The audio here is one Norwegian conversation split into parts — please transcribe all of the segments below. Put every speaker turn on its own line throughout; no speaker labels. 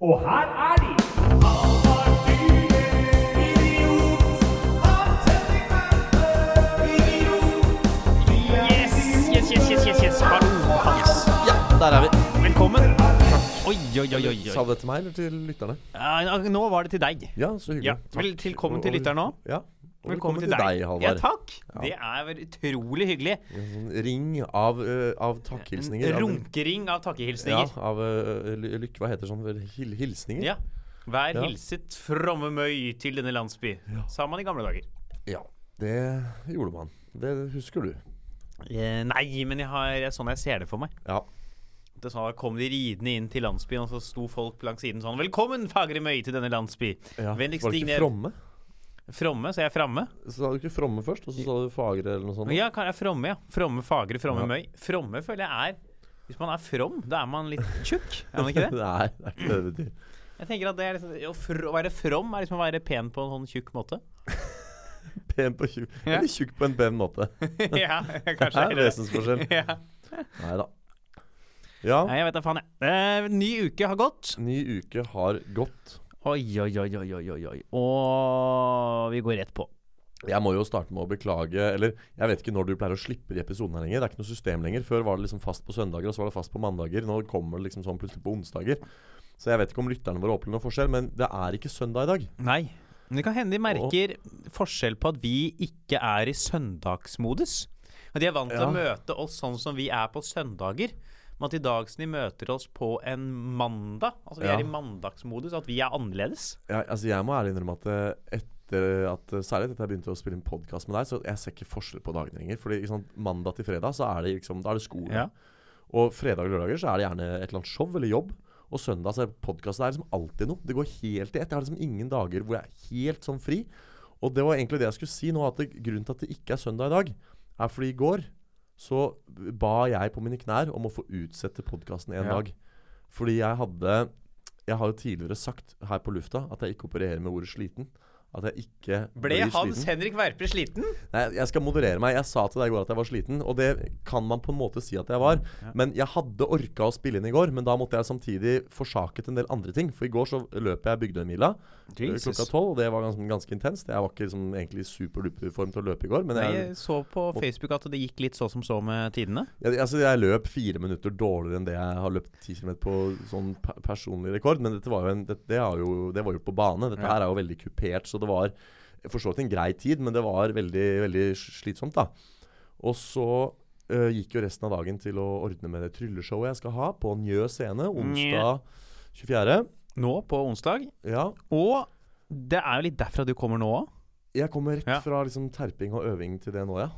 Og her er de!
Yes, yes, yes, yes, yes, yes. Hallo, Hans.
Ja, der er vi.
Velkommen. Oi, oi, oi, oi.
Sa
oi.
du det til meg eller til lytterne?
Ja, nå var det til deg.
Ja, så hyggelig.
Ja,
Takk.
vel, tilkommen
Og-
til lytterne også.
Ja. Og
Velkommen til deg, Ja,
Halvard.
takk. Det er vel utrolig hyggelig.
En sånn ring av, uh, av takkhilsninger.
En
av-
runkering av
Ja,
takkehilsninger.
av eh, ly- lykke... Hva heter sånn? vel, Hil hilsninger?
Ja. Vær
Ja.
hilset, fromme møy, til denne landsby, sa man i gamle dager.
Ja, Det gjorde man. Det husker du.
Eh, Nei, men jeg har, det er sånn jeg ser det for meg.
Ja.
Det er sånn, da kom de ridende inn til landsbyen, og så sto folk langs siden sånn Velkommen, fagre møy, til denne landsby.
ja.
Vennligst
Var det
stig
ikke
ned.
fromme?
Fromme, så jeg er framme.
Så sa du ikke fromme først, og så sa du fagre eller noe sånt?
Ja, kan jeg er fromme, ja. Fromme, fagre, fromme
Ja.
møy. Fromme føler jeg er Hvis man er from, da er man litt tjukk, er man ikke det?
Nei, det er ikke det det betyr.
Jeg tenker at det er liksom, å, fr å være from er liksom å være pen på en sånn tjukk måte.
Pen på tjukk.
Ja.
Eller tjukk på en pen måte.
ja,
Det
kanskje
er
heller det.
vesensforskjell.
Ja.
Nei da. Ja,
Nei, jeg vet da faen, jeg. Eh, ny uke har gått.
ny uke har gått.
Oi, oi, oi, oi, oi, oi, oi. Og vi går rett på.
Jeg må jo starte med å beklage Eller jeg vet ikke når du pleier å slippe de episodene her lenger. Det er ikke noe system lenger. Før var det liksom fast på søndager, og så var det fast på mandager. Nå kommer det liksom sånn plutselig på onsdager. Så jeg vet ikke om lytterne våre opplever noen forskjell, men det er ikke søndag i dag.
Nei. Men det kan hende de merker forskjell på at vi ikke er i søndagsmodus. Og de er vant til
Ja.
å møte oss sånn som vi er på søndager. Men at i dag som de møter oss på en mandag, altså vi
Ja.
er i mandagsmodus, at vi er annerledes.
Jeg, altså jeg må ærlig innrømme at eh, etter at eh, Særlig etter at jeg begynte å spille inn podkast med deg, så jeg ser ikke forskjell på dagene lenger. Fordi ikke sant, mandag til fredag så er det liksom Da er det skole.
Ja.
Og fredag og lørdager så er det gjerne et eller annet show eller jobb. Og søndag så er podkasten er liksom alltid noe. Det går helt i ett. Jeg har liksom ingen dager hvor jeg er helt sånn fri. Og det var egentlig det jeg skulle si nå, at det, grunnen til at det ikke er søndag i dag, er fordi i går så ba jeg på mine knær om å få utsette podkasten en
Ja.
dag. Fordi jeg hadde Jeg har jo tidligere sagt her på lufta at jeg ikke opererer med ordet sliten. At jeg ikke
Ble
blir
Hans
sliten.
Henrik Verpe sliten?
Nei, jeg skal moderere meg. Jeg sa til deg i går at jeg var sliten, og det kan man på en måte si at jeg var. Men jeg hadde orka å spille inn i går, men da måtte jeg samtidig forsaket en del andre ting. For i går så løp jeg Bygdøymila eh,
Jesus.
klokka tolv, og det var ganske, ganske intenst. Jeg var ikke liksom, egentlig i superduper form til å løpe i går, men
Nei,
jeg,
jeg så på Facebook at det gikk litt så som så med tidene.
jeg, altså, jeg løp fire minutter dårligere enn det jeg har løpt 10 km på sånn pe- personlig rekord. Men dette var jo en, det, det, er jo, det var gjort på bane. Dette her er jo veldig kupert, så det var for så vidt en grei tid, men det var veldig, veldig slitsomt, da. Og så eh, gikk jo resten av dagen til å ordne med det trylleshowet jeg skal ha på Njø scene onsdag 24.
Nå på onsdag.
Ja.
Og det er jo litt derfra du kommer nå òg.
Jeg kommer rett
Ja.
fra liksom terping og øving til det nå, ja.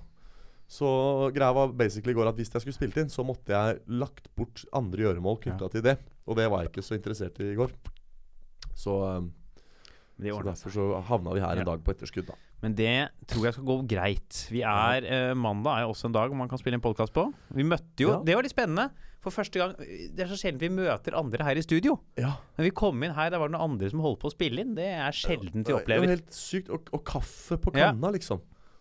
Så greia var basically i går at hvis jeg skulle spilt inn, så måtte jeg lagt bort andre gjøremål knytta til det. Og det var jeg ikke så interessert i i går. Så, um,
Det
så
ordner
derfor så havna vi her
Ja.
en dag på etterskudd, da.
Men det tror jeg skal gå greit. Vi er, eh, Mandag er jo også en dag man kan spille en podkast på. Vi møtte jo
Ja.
Det var litt spennende. For første gang Det er så sjelden vi møter andre her i studio.
Ja.
Når vi kom inn her, der var det noen andre som holdt på å spille inn. Det er sjelden vi
Det var
opplever.
helt sykt. Og, og kaffe på
Ja.
kanna, liksom.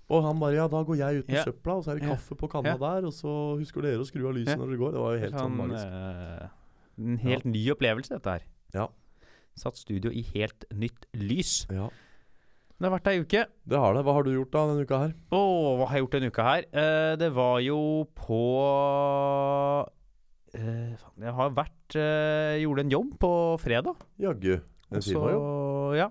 Og han bare Ja, da går jeg ut med
Ja.
søpla, og så er det
Ja.
kaffe på
Ja.
kanna der, og så husker dere å skru av lyset
Ja.
når dere går. Det var jo helt sånn
Sånn,
magisk.
eh, en helt ny opplevelse, dette her.
Ja.
Satt studio i helt nytt lys.
Ja.
Det har vært ei uke.
Det har det. Hva har du gjort da denne uka her?
Å, hva har jeg gjort denne uka her? Eh, det var jo på eh, faen, Jeg har vært eh, Gjorde en jobb på fredag.
Jaggu. En
Og så-
time, jo.
ja.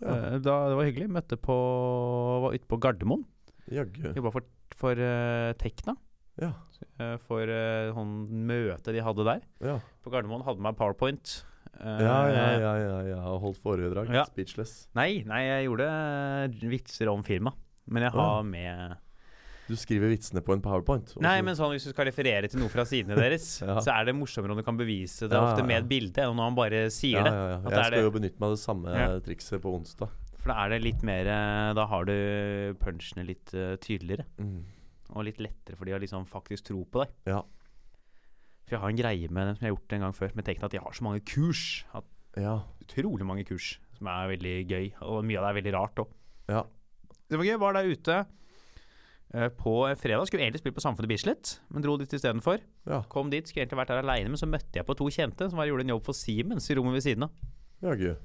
Ja.
Eh, Da, det var hyggelig. Møtte på Var ute på Gardermoen.
Jaggu.
Jobba for, for eh, Tekna.
Ja.
eh, for uh, sånn møte de hadde der.
ja.
På Gardermoen hadde meg PowerPoint. Eh,
Ja, ja, ja, ja, ja. og Holdt foredrag.
Ja.
Speechless.
Nei, nei, jeg gjorde eh, vitser om firmaet. Men jeg
Å, ja.
har med
Du skriver vitsene på en powerpoint. og
Nei,
så-
men sånn hvis du skal referere til noe fra sidene deres,
Ja.
så er det morsommere om du kan bevise det
Ja,
ofte
ja,
med
ja.
et bilde, enn når man bare sier
ja,
det.
ja, ja.
at
Jeg
er
skal
det-
jo benytte meg av det samme
Ja.
trikset på onsdag.
For da er det litt mer eh, Da har du punchene litt eh, tydeligere.
Mm.
Og litt lettere for de å liksom faktisk tro på deg.
Ja.
For jeg har en greie med dem som jeg har gjort en gang før, med Tekna, at de har så mange kurs. At
Ja.
utrolig mange kurs som er veldig gøy, og mye av det er veldig rart òg.
Ja.
Det var gøy. Var der ute. eh, på fredag. Skulle egentlig spille på Samfunnet Bislett, men dro dit istedenfor.
Ja,
Kom dit, skulle egentlig vært der aleine, men så møtte jeg på to kjente som var, gjorde en jobb for Siemens i rommet ved siden av.
jaggu.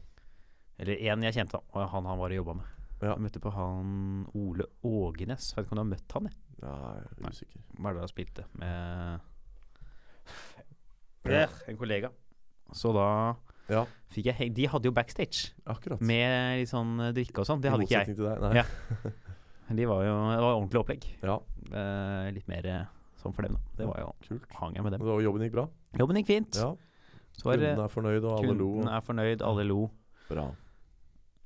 Eller én jeg kjente, da. Og han han var og jobba med.
Ja.
Jeg møtte på han Ole Ågenes. Vet ikke om du har møtt han, jeg.
Ja, jeg
Nei.
er usikker.
Hva er det du har spilt det med
Ja.
Eh, En kollega. Så da
Ja,
fikk jeg he- De hadde jo backstage
akkurat.
med litt sånn eh, drikke og sånn. Det
I
hadde ikke jeg.
motsetning Til deg. Nei.
Ja. De var jo, det var ordentlig opplegg.
Ja,
Eh, litt mer eh, sånn for dem, da. Det var jo
kult.
hang jeg med dem.
Men da jobben gikk bra?
Jobben gikk fint.
Mm. Ja.
Så var,
Kunden
eh,
er fornøyd, og alle lo.
kunden
og-
er fornøyd, alle lo.
Bra.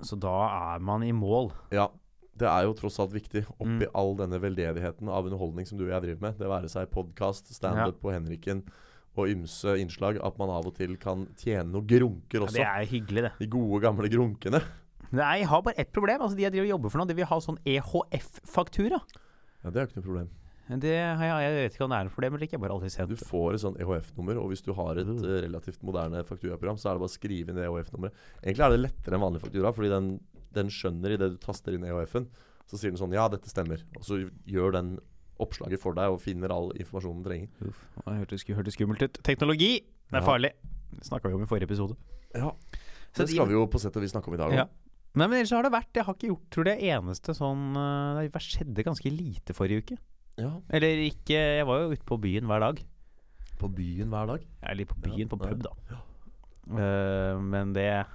Så da er man i mål.
Ja. Det er jo tross alt viktig oppi
Mm.
all denne veldedigheten av underholdning som du og jeg driver med, det være seg podkast, standup på Henriken og ymse innslag, at man av og til kan tjene noen grunker
Ja, det
også.
er hyggelig, det.
De gode, gamle grunkene.
Nei, jeg har bare ett problem. Altså, de jeg driver og jobber for nå, de vil ha sånn EHF-faktura.
Ja, Det er jo ikke noe problem.
Det har jeg, jeg vet ikke om det er noe problem eller ikke. Jeg har bare aldri sett
Du
det.
får et sånn EHF-nummer, og hvis du har et
Mm.
eh, relativt moderne fakturaprogram, så er det bare å skrive inn det EHF-nummeret. Egentlig er det lettere enn vanlig faktura, fordi den, den skjønner i det du taster inn EHF-en, så sier den sånn ja, dette stemmer. Og så gjør den oppslaget for deg og finner all informasjonen den trenger.
Uff, det hørtes sku- hørtes skummelt ut. Teknologi! Det er
Ja.
farlig. Det snakka vi om i forrige episode.
Ja,
Så
Det skal vi jo på sett og vis snakke om i dag òg.
Ja. Nei, men ellers har det vært Jeg har ikke gjort tror det eneste sånn eh, Det skjedde ganske lite forrige uke.
Ja.
Eller ikke Jeg var jo ute på byen hver dag.
På byen hver dag.
Eller på byen,
Ja,
på
ja.
pub, da. Eh, men det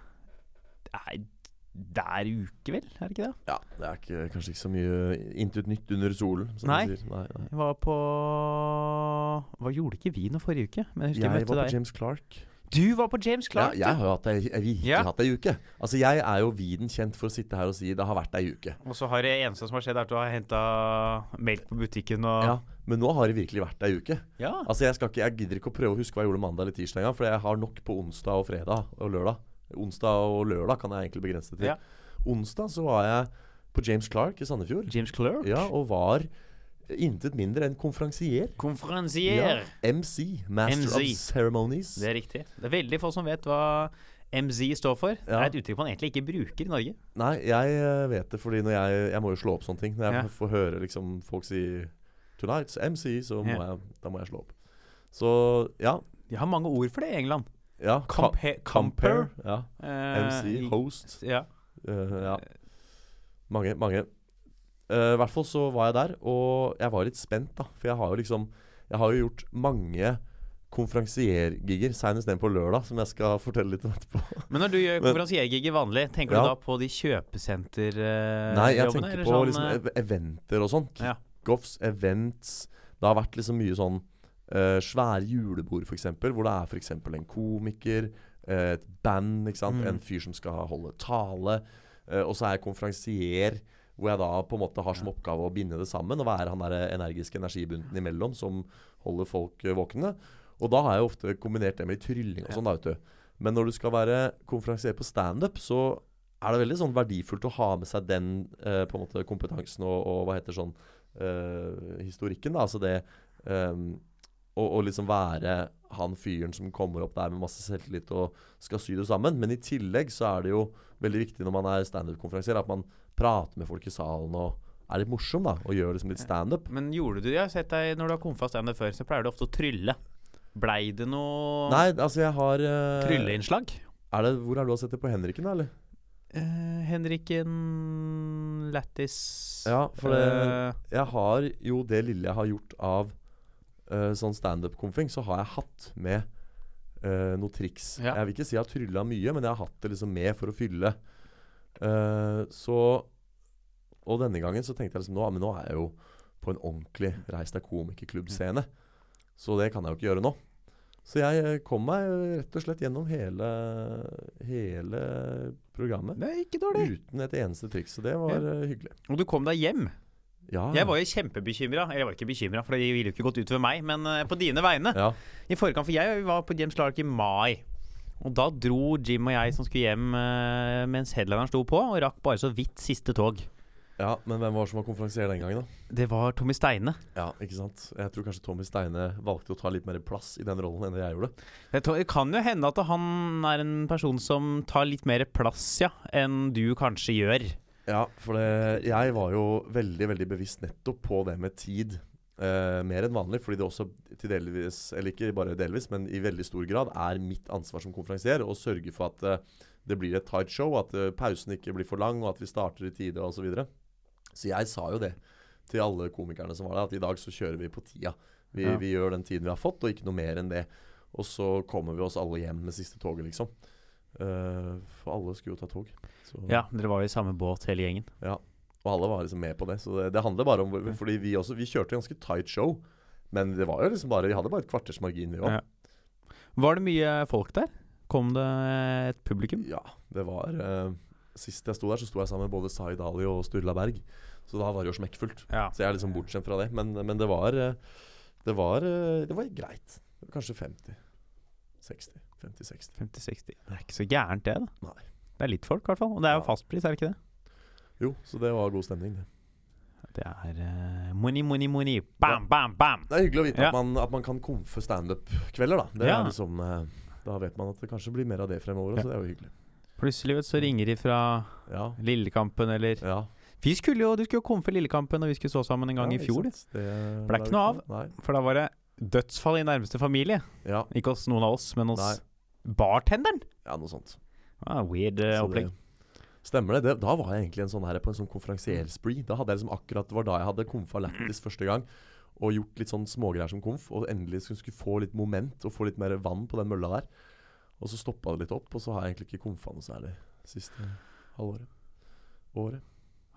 Nei, det er uke, vel? Er det ikke det?
Ja, det er ikke, kanskje ikke så mye intet nytt under solen, som
Nei.
de sier. Nei, nei.
Jeg var på Hva gjorde ikke vi noe forrige uke? Men jeg husker
Jeg
jeg møtte
var på
deg.
James Clark.
Du var på James Clark!
ja, jeg har jo hatt ei, jeg virkelig
Ja.
hatt ei uke. Altså, jeg er jo viden kjent for å sitte her og si det har vært ei uke.
Og så har det eneste som har skjedd, er at du har henta melk på butikken og
Ja, men nå har det virkelig vært ei uke.
Ja.
Altså Jeg skal ikke, jeg gidder ikke å prøve å huske hva jeg gjorde mandag eller tirsdag engang, for jeg har nok på onsdag og fredag og lørdag. Onsdag og lørdag kan jeg egentlig begrense det til.
Ja.
Onsdag så var jeg på James Clark i Sandefjord,
James Clark.
ja, og var intet mindre enn konferansier.
Konferansier.
Ja, MC, Master
MC.
of Ceremonies.
Det er riktig. Det er veldig få som vet hva MZ står for. Det
Ja.
er et uttrykk man egentlig ikke bruker i Norge.
Nei, jeg eh, vet det, fordi når jeg, jeg må jo slå opp sånne ting. Når jeg
Ja.
får høre liksom, folk si 'Tonight's MC', så må,
Ja.
jeg, da må jeg slå opp. Så ja.
De har mange ord for det i England.
ja ka-
Compe-
Compare. Ja.
eh,
MC,
i-
host.
Ja.
eh, ja. Mange, mange. Eh, I hvert fall så var jeg der, og jeg var litt spent, da. For jeg har jo liksom Jeg har jo gjort mange konferansiergigger, seinest den på lørdag, som jeg skal fortelle litt om etterpå.
Men når du gjør
Men-
konferansiergigger vanlig, tenker
Ja.
du da på de eh, kjøpesenterjobbene?
Nei, jeg tenker på
sånn,
liksom ev- eventer og sånn.
eh, Ja.
Kickoffs, events Det har vært liksom mye sånn eh, svære julebord, f.eks., hvor det er f.eks. en komiker, eh, et band, ikke sant?
Mm.
en fyr som skal holde tale. eh, og så er jeg konferansier, hvor jeg da på en måte har som oppgave å binde det sammen og være han der eh, energiske energibunten imellom som holder folk eh, våkne. Og da har jeg jo ofte kombinert det med litt trylling og sånn, da, vet du. Men når du skal være konferansier på standup, så er det veldig sånn verdifullt å ha med seg den eh, på en måte kompetansen og, og hva heter sånn eh, historikken, da. Altså det ehm, å, å liksom være han fyren som kommer opp der med masse selvtillit og skal sy det sammen. Men i tillegg så er det jo veldig viktig når man er standup-konferansier, at man prater med folk i salen og er litt morsom, da. Og gjør liksom litt standup.
Men gjorde du det? Jeg har sett deg når du har komfa standup før, så pleier du ofte å trylle. Blei det noe
Nei, altså jeg har eh,
trylleinslag?
er det, Hvor er du og sett det på Henriken, da, eller?
Eh, Henriken Lattis
Ja, for det-
eh,
Jeg har jo det lille jeg har gjort av eh, sånn standup-konfing, så har jeg hatt med eh, noen triks.
Ja.
Jeg vil ikke si jeg har trylla mye, men jeg har hatt det liksom med for å fylle. Eh, så Og denne gangen så tenkte jeg liksom nå, men nå er jeg jo på en ordentlig Reis deg komikerklubb-scene. Så det kan jeg jo ikke gjøre nå. Så jeg eh, kom meg rett og slett gjennom hele, hele programmet
Det er ikke dårlig.
uten et eneste triks. Så det var
Ja.
eh, hyggelig.
Og du kom deg hjem.
Ah, Ja.
Jeg var jo kjempebekymra. Eller jeg var ikke bekymra, for det ville jo ikke gått utover meg, men eh, på dine vegne.
ja.
I forkant, for jeg var på James Clark i mai. Og da dro Jim og jeg som skulle hjem eh, mens headlineren sto på, og rakk bare så vidt siste tog.
ja, men hvem var det som var konferansier den gangen, da?
Det var Tommy Steine.
Ja, ikke sant? Jeg tror kanskje Tommy Steine valgte å ta litt mer plass i den rollen enn det jeg gjorde.
Jeg tror, det kan jo hende at han er en person som tar litt mer plass, ja, enn du kanskje gjør.
Ja, for det, jeg var jo veldig veldig bevisst nettopp på det med tid. eh, mer enn vanlig, fordi det også til delvis, eller ikke bare delvis, men i veldig stor grad er mitt ansvar som konferansier å sørge for at eh, det blir et tight show, at eh, pausen ikke blir for lang, og at vi starter i tide osv. Så, videre. så jeg sa jo det til alle komikerne som var der, at i dag så kjører vi på tida. Vi,
Ja.
vi gjør den tiden vi har fått, og ikke noe mer enn det. Og så kommer vi oss alle hjem med siste toget, liksom. Eh, for alle skulle jo ta tog. Så.
Ja, dere var jo i samme båt hele gjengen.
Og alle var liksom med på det. Så det, det handler bare om hvor- Fordi vi også Vi kjørte ganske tight show. Men det var jo liksom bare vi hadde bare et kvarters margin, vi òg.
Ja. Var det mye folk der? Kom det et publikum?
Ja. Det var eh, Sist jeg sto der, så sto jeg sammen med både Zaid Ali og Sturla Berg. Så da var det jo smekkfullt.
Ja.
Så jeg er liksom bortskjemt fra det. Men, men det var eh, Det var eh, Det var greit. Det var kanskje 50. 60. 50-60.
50-60. Det er ikke så gærent, det. da
Nei.
Det er litt folk, i hvert fall. Og det er jo
Ja.
fastpris, er det ikke det?
Jo, så det var god stemning, det.
Det er eh, money, money, money. Bam, bam, bam!
Det er hyggelig å vite
Ja.
at, man, at man kan komfe standup-kvelder, da. Det
Ja.
er liksom eh, Da vet man at det kanskje blir mer av det
Ja.
fremover, og så det er jo hyggelig.
Plutselig vet, du, så ringer de fra
Ja.
Lillekampen eller
ja.
Vi skulle jo, Du skulle jo komme for Lillekampen, og vi skulle stå sammen en gang
Ja,
i
ikke
fjor.
sant? Det
Ble ikke noe av.
Nei.
For da var det dødsfall i nærmeste familie.
Ja.
Ikke hos noen av oss, men hos bartenderen.
ja, noe sånt.
Ah, weird eh,
Så
opplegg.
det- Stemmer det. det. Da var jeg egentlig en sånn her på en sånn konferansierspree. Da hadde jeg liksom akkurat, Det var da jeg hadde komfa lættis første gang. Og gjort litt sånn smågreier som komf. Og endelig skulle, skulle få litt moment og få litt mer vann på den mølla der. Og så stoppa det litt opp, og så har jeg egentlig ikke komfa noe særlig siste halvåret. Året.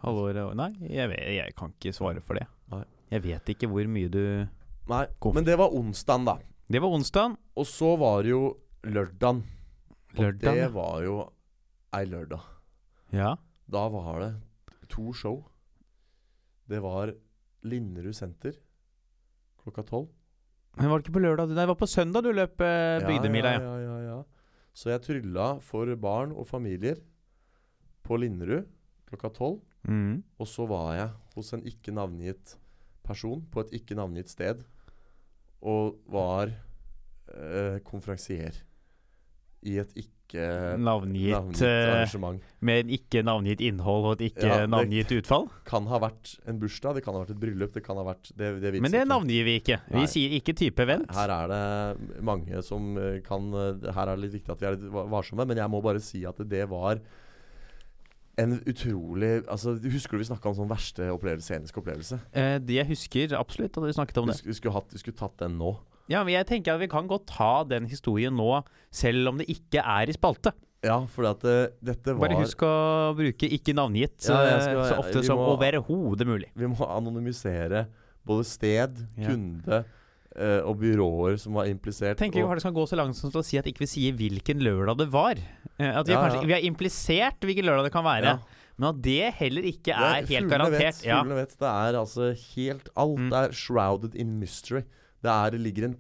Halvåret Nei, jeg, vet, jeg kan ikke svare for det.
Nei.
Jeg vet ikke hvor mye du
Nei,
Komf.
men det var onsdagen, da.
Det var onsdag.
Og så var det jo lørdagen. Og
Lørdag.
det var jo ei lørdag.
Ja.
Da var det to show. Det var Linderud senter klokka tolv.
Men var det ikke på lørdag? du- Nei, det var på søndag du løp eh, Bygdemila. Ja,
Ja, ja, ja, ja. Så jeg trylla for barn og familier på Linderud klokka tolv.
Mm.
Og så var jeg hos en ikke navngitt person på et ikke navngitt sted og var eh, konferansier i et ikke
Navngitt,
navngitt
eh,
arrangement.
Med en ikke navngitt innhold og et ikke
Ja, det-
navngitt utfall.
Kan ha vært en bursdag, det kan ha vært et bryllup, det kan ha vært det, det vet
Men det
ikke.
navngir vi ikke. Vi
Nei.
sier ikke type event.
Her er det mange som eh, kan eh, Her er det litt viktig at vi er litt va- varsomme, men jeg må bare si at det var en utrolig altså, Husker du vi snakka om sånn verste opplevelse, scenisk opplevelse?
Eh, det jeg husker absolutt at vi snakket om
Vi
det.
sk- vi skulle, hatt, vi skulle tatt den nå.
Ja, men jeg tenker at vi kan godt ta den historien nå, selv om det ikke er i spalte.
Ja, for at, eh, dette var
Bare husk å bruke ikke navngitt så,
Ja, jeg skal-
så ofte
vi
som
må-
overhodet mulig.
Vi må anonymisere både sted,
Ja.
kunde eh, og byråer som var implisert.
Jeg tenker vi
og,
faktisk kan gå så langt som til å si at ikke vi sier hvilken lørdag det var. Eh, At vi,
Ja,
kanskje,
ja.
vi har implisert hvilken lørdag det kan være,
Ja.
men at det heller ikke
Det
er helt
fuglene
garantert.
Vet,
Ja.
Fuglene vet. Det er altså helt Alt
Mm.
er shrouded in mystery. Det, er, det ligger en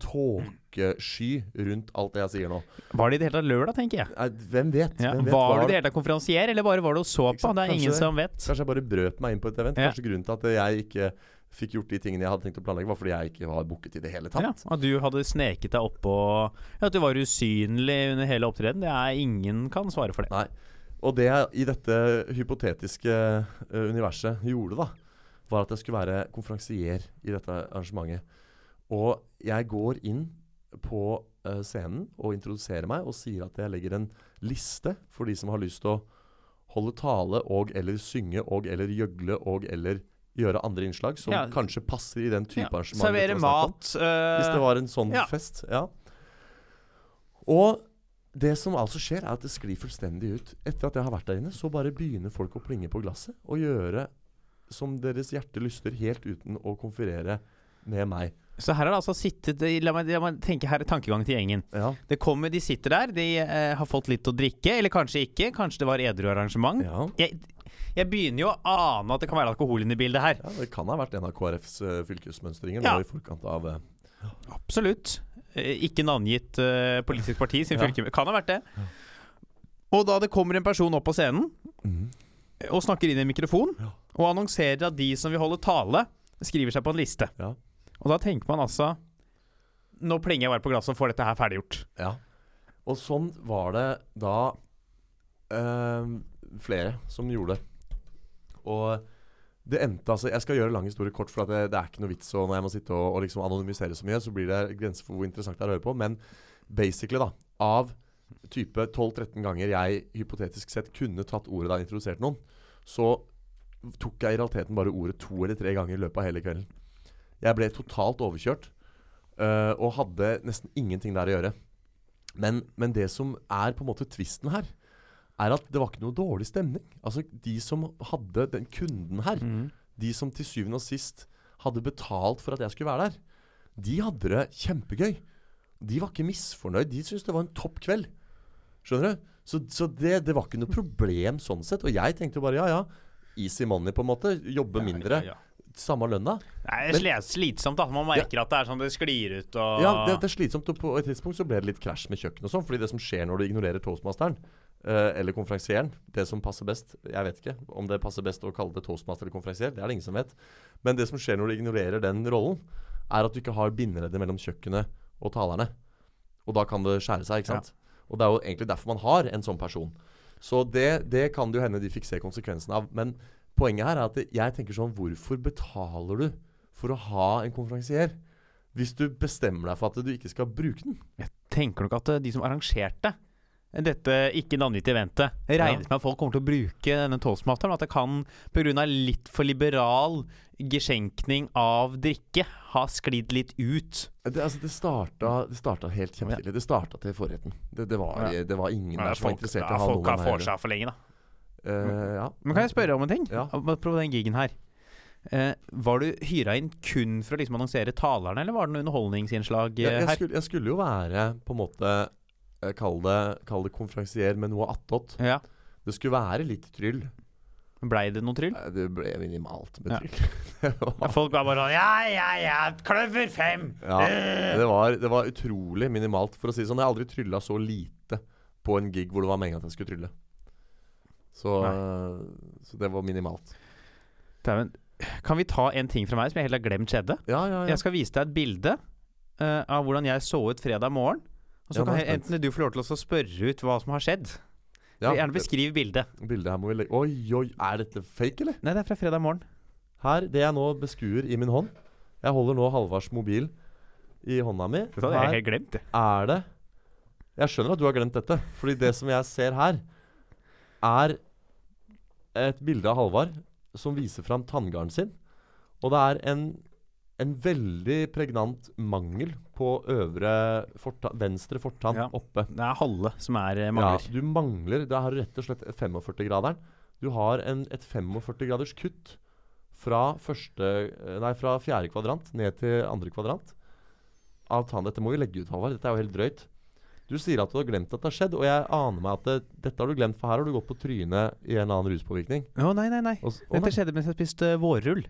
tåkesky rundt alt det jeg sier nå.
Var det i det hele tatt lørdag, tenker jeg?
Nei, hvem vet?
Ja.
Hvem vet
Var
hva
du i det hele tatt konferansier, eller bare var du og så
Ikke
på?
sant,
Det er
kanskje
ingen
det.
som vet.
Kanskje jeg bare brøt meg inn på et event.
Ja.
Kanskje grunnen til at jeg ikke fikk gjort de tingene jeg hadde tenkt å planlegge, var fordi jeg ikke var booket i det hele tatt.
Ja, at du hadde sneket deg oppå ja, At du var usynlig under hele opptredenen. Det er ingen kan svare for det.
Nei. Og det jeg i dette hypotetiske eh, universet gjorde, da, var at jeg skulle være konferansier i dette arrangementet. Og jeg går inn på eh, scenen og introduserer meg og sier at jeg legger en liste for de som har lyst til å holde tale og eller synge og eller gjøgle og eller gjøre andre innslag som
Ja.
kanskje passer i den type
Ja,
arrangement.
Servere
dette var snakk om.
mat øh,
Hvis det var en sånn
ja.
fest. Ja. Og det som altså skjer, er at det sklir fullstendig ut. Etter at jeg har vært der inne, så bare begynner folk å plinge på glasset og gjøre som deres hjerte lyster, helt uten å konferere med meg.
Så her har det altså sittet La meg, la meg tenke her tankegangen til gjengen.
Ja.
Det kommer, De sitter der, de eh, har fått litt å drikke, eller kanskje ikke. Kanskje det var edru arrangement.
ja.
Jeg, jeg begynner jo å ane at det kan være alkohol inne i bildet her.
Ja, Det kan ha vært en av KrFs eh, fylkesmønstringer
Ja.
nå i forkant av eh,
Absolutt. Eh, Ikke navngitt eh, politisk parti sin
Ja.
fylke. Kan ha vært det. Og da det kommer en person opp på scenen Mm. og snakker inn i en mikrofon
Ja.
og annonserer at de som vil holde tale, skriver seg på en liste.
Ja.
Og da tenker man altså Nå plenger jeg bare på glasset og får dette her ferdiggjort.
Ja. Og sånn var det da eh, flere som gjorde. Og det endte altså Jeg skal gjøre lang historie kort, for at det, det er ikke noe vits og når jeg må sitte og, og liksom anonymisere så mye. Så blir det grenser for hvor interessant det er å høre på. Men basically, da, av type 12-13 ganger jeg hypotetisk sett kunne tatt ordet da jeg introduserte noen, så tok jeg i realiteten bare ordet to eller tre ganger i løpet av hele kvelden. Jeg ble totalt overkjørt, øh, og hadde nesten ingenting der å gjøre. Men, men det som er på en måte tvisten her, er at det var ikke noe dårlig stemning. Altså, de som hadde den kunden her,
Mhm.
de som til syvende og sist hadde betalt for at jeg skulle være der, de hadde det kjempegøy. De var ikke misfornøyd. De syntes det var en topp kveld. Skjønner du? Så, så det, det var ikke noe problem sånn sett. Og jeg tenkte bare ja, ja. Easy money, på en måte. Jobbe mindre.
Ja, ja.
Samme lønna.
Nei, det er sle- slitsomt, da. Man merker at det er sånn det sklir ut og
Ja, det, det er slitsomt. Og på et tidspunkt så ble det litt krasj med kjøkkenet og sånn. Fordi det som skjer når du ignorerer toastmasteren, eh, eller konferansieren, det som passer best Jeg vet ikke om det passer best å kalle det toastmaster eller konferansier, det er det ingen som vet. Men det som skjer når du ignorerer den rollen, er at du ikke har bindeleddet mellom kjøkkenet og talerne. Og da kan det skjære seg, ikke sant. Og det er jo egentlig derfor man har en sånn person. Så det, det kan det jo hende de fikk se konsekvensen av. Men poenget her er at jeg tenker sånn Hvorfor betaler du for å ha en konferansier? Hvis du bestemmer deg for at du ikke skal bruke den.
Tenker nok at eh, de som arrangerte dette ikke navngitte eventet, regnet med at folk kommer til å bruke denne toastmasteren, men at det kan pga. litt for liberal geschenkning av drikke ha sklidd litt ut.
Det, altså, det, starta, det starta helt kjempetidlig. Det starta til forretten. Det, det, var,
Ja.
det var ingen der som var
folk,
interessert i
ja,
å ha
folk
noen
har
her.
vorsa for lenge, da.
Eh, ja.
Men kan jeg spørre om en ting?
Ja.
Prøv den gigen her. Eh, var du hyra inn kun for å liksom annonsere talerne, eller var det noe underholdningsinnslag eh,
Jeg, jeg,
her?
skulle, jeg skulle jo være på en måte eh, Kall det, kall det konferansier med noe attåt.
Ja.
Det skulle være litt tryll.
Blei det noe tryll?
Eh, Det ble minimalt
Mm.
med
Ja.
tryll. Det var-
Ja, folk var bare sånn Ja, ja, ja, kløver fem! Øh,
Ja, det var, det var utrolig minimalt. For å si det sånn, jeg har aldri trylla så lite på en gig hvor det var meninga at jeg skulle trylle. Så, så det var minimalt.
Dæven. Kan vi ta en ting fra meg som jeg helt har glemt skjedde?
Ja, ja, ja.
Jeg skal vise deg et bilde eh, av hvordan jeg så ut fredag morgen. Og så
Ja, nå
kan
er jeg
he- enten du få lov til å spørre ut hva som har skjedd.
ja
Gjerne beskriv bildet.
det bildet her må vi legge Oi, oi, er dette fake, eller?
Nei, det er fra fredag morgen.
Her, det jeg nå beskuer i min hånd Jeg holder nå Halvards mobil i hånda mi.
Det hadde jeg
Her
helt glemt. det.
er det Jeg skjønner at du har glemt dette, fordi det som jeg ser her, er et bilde av Halvard som viser fram tanngarden sin. Og det er en, en veldig pregnant mangel på øvre forta, venstre fortann
Ja.
oppe.
Det er halve som er eh, mangler.
Ja, du mangler Da har du rett og slett 45-graderen. Du har en, et 45-graders kutt fra, første, nei, fra fjerde kvadrant ned til andre kvadrant. Av tann, dette må vi legge ut, Halvard. Dette er jo helt drøyt. Du sier at du har glemt at det har skjedd, og jeg aner meg at det, dette har du glemt, for her har du gått på trynet i en eller annen ruspåvirkning.
Å, nei, nei, nei.
Og s- å,
Dette
nei.
skjedde mens jeg spiste eh, vårrull.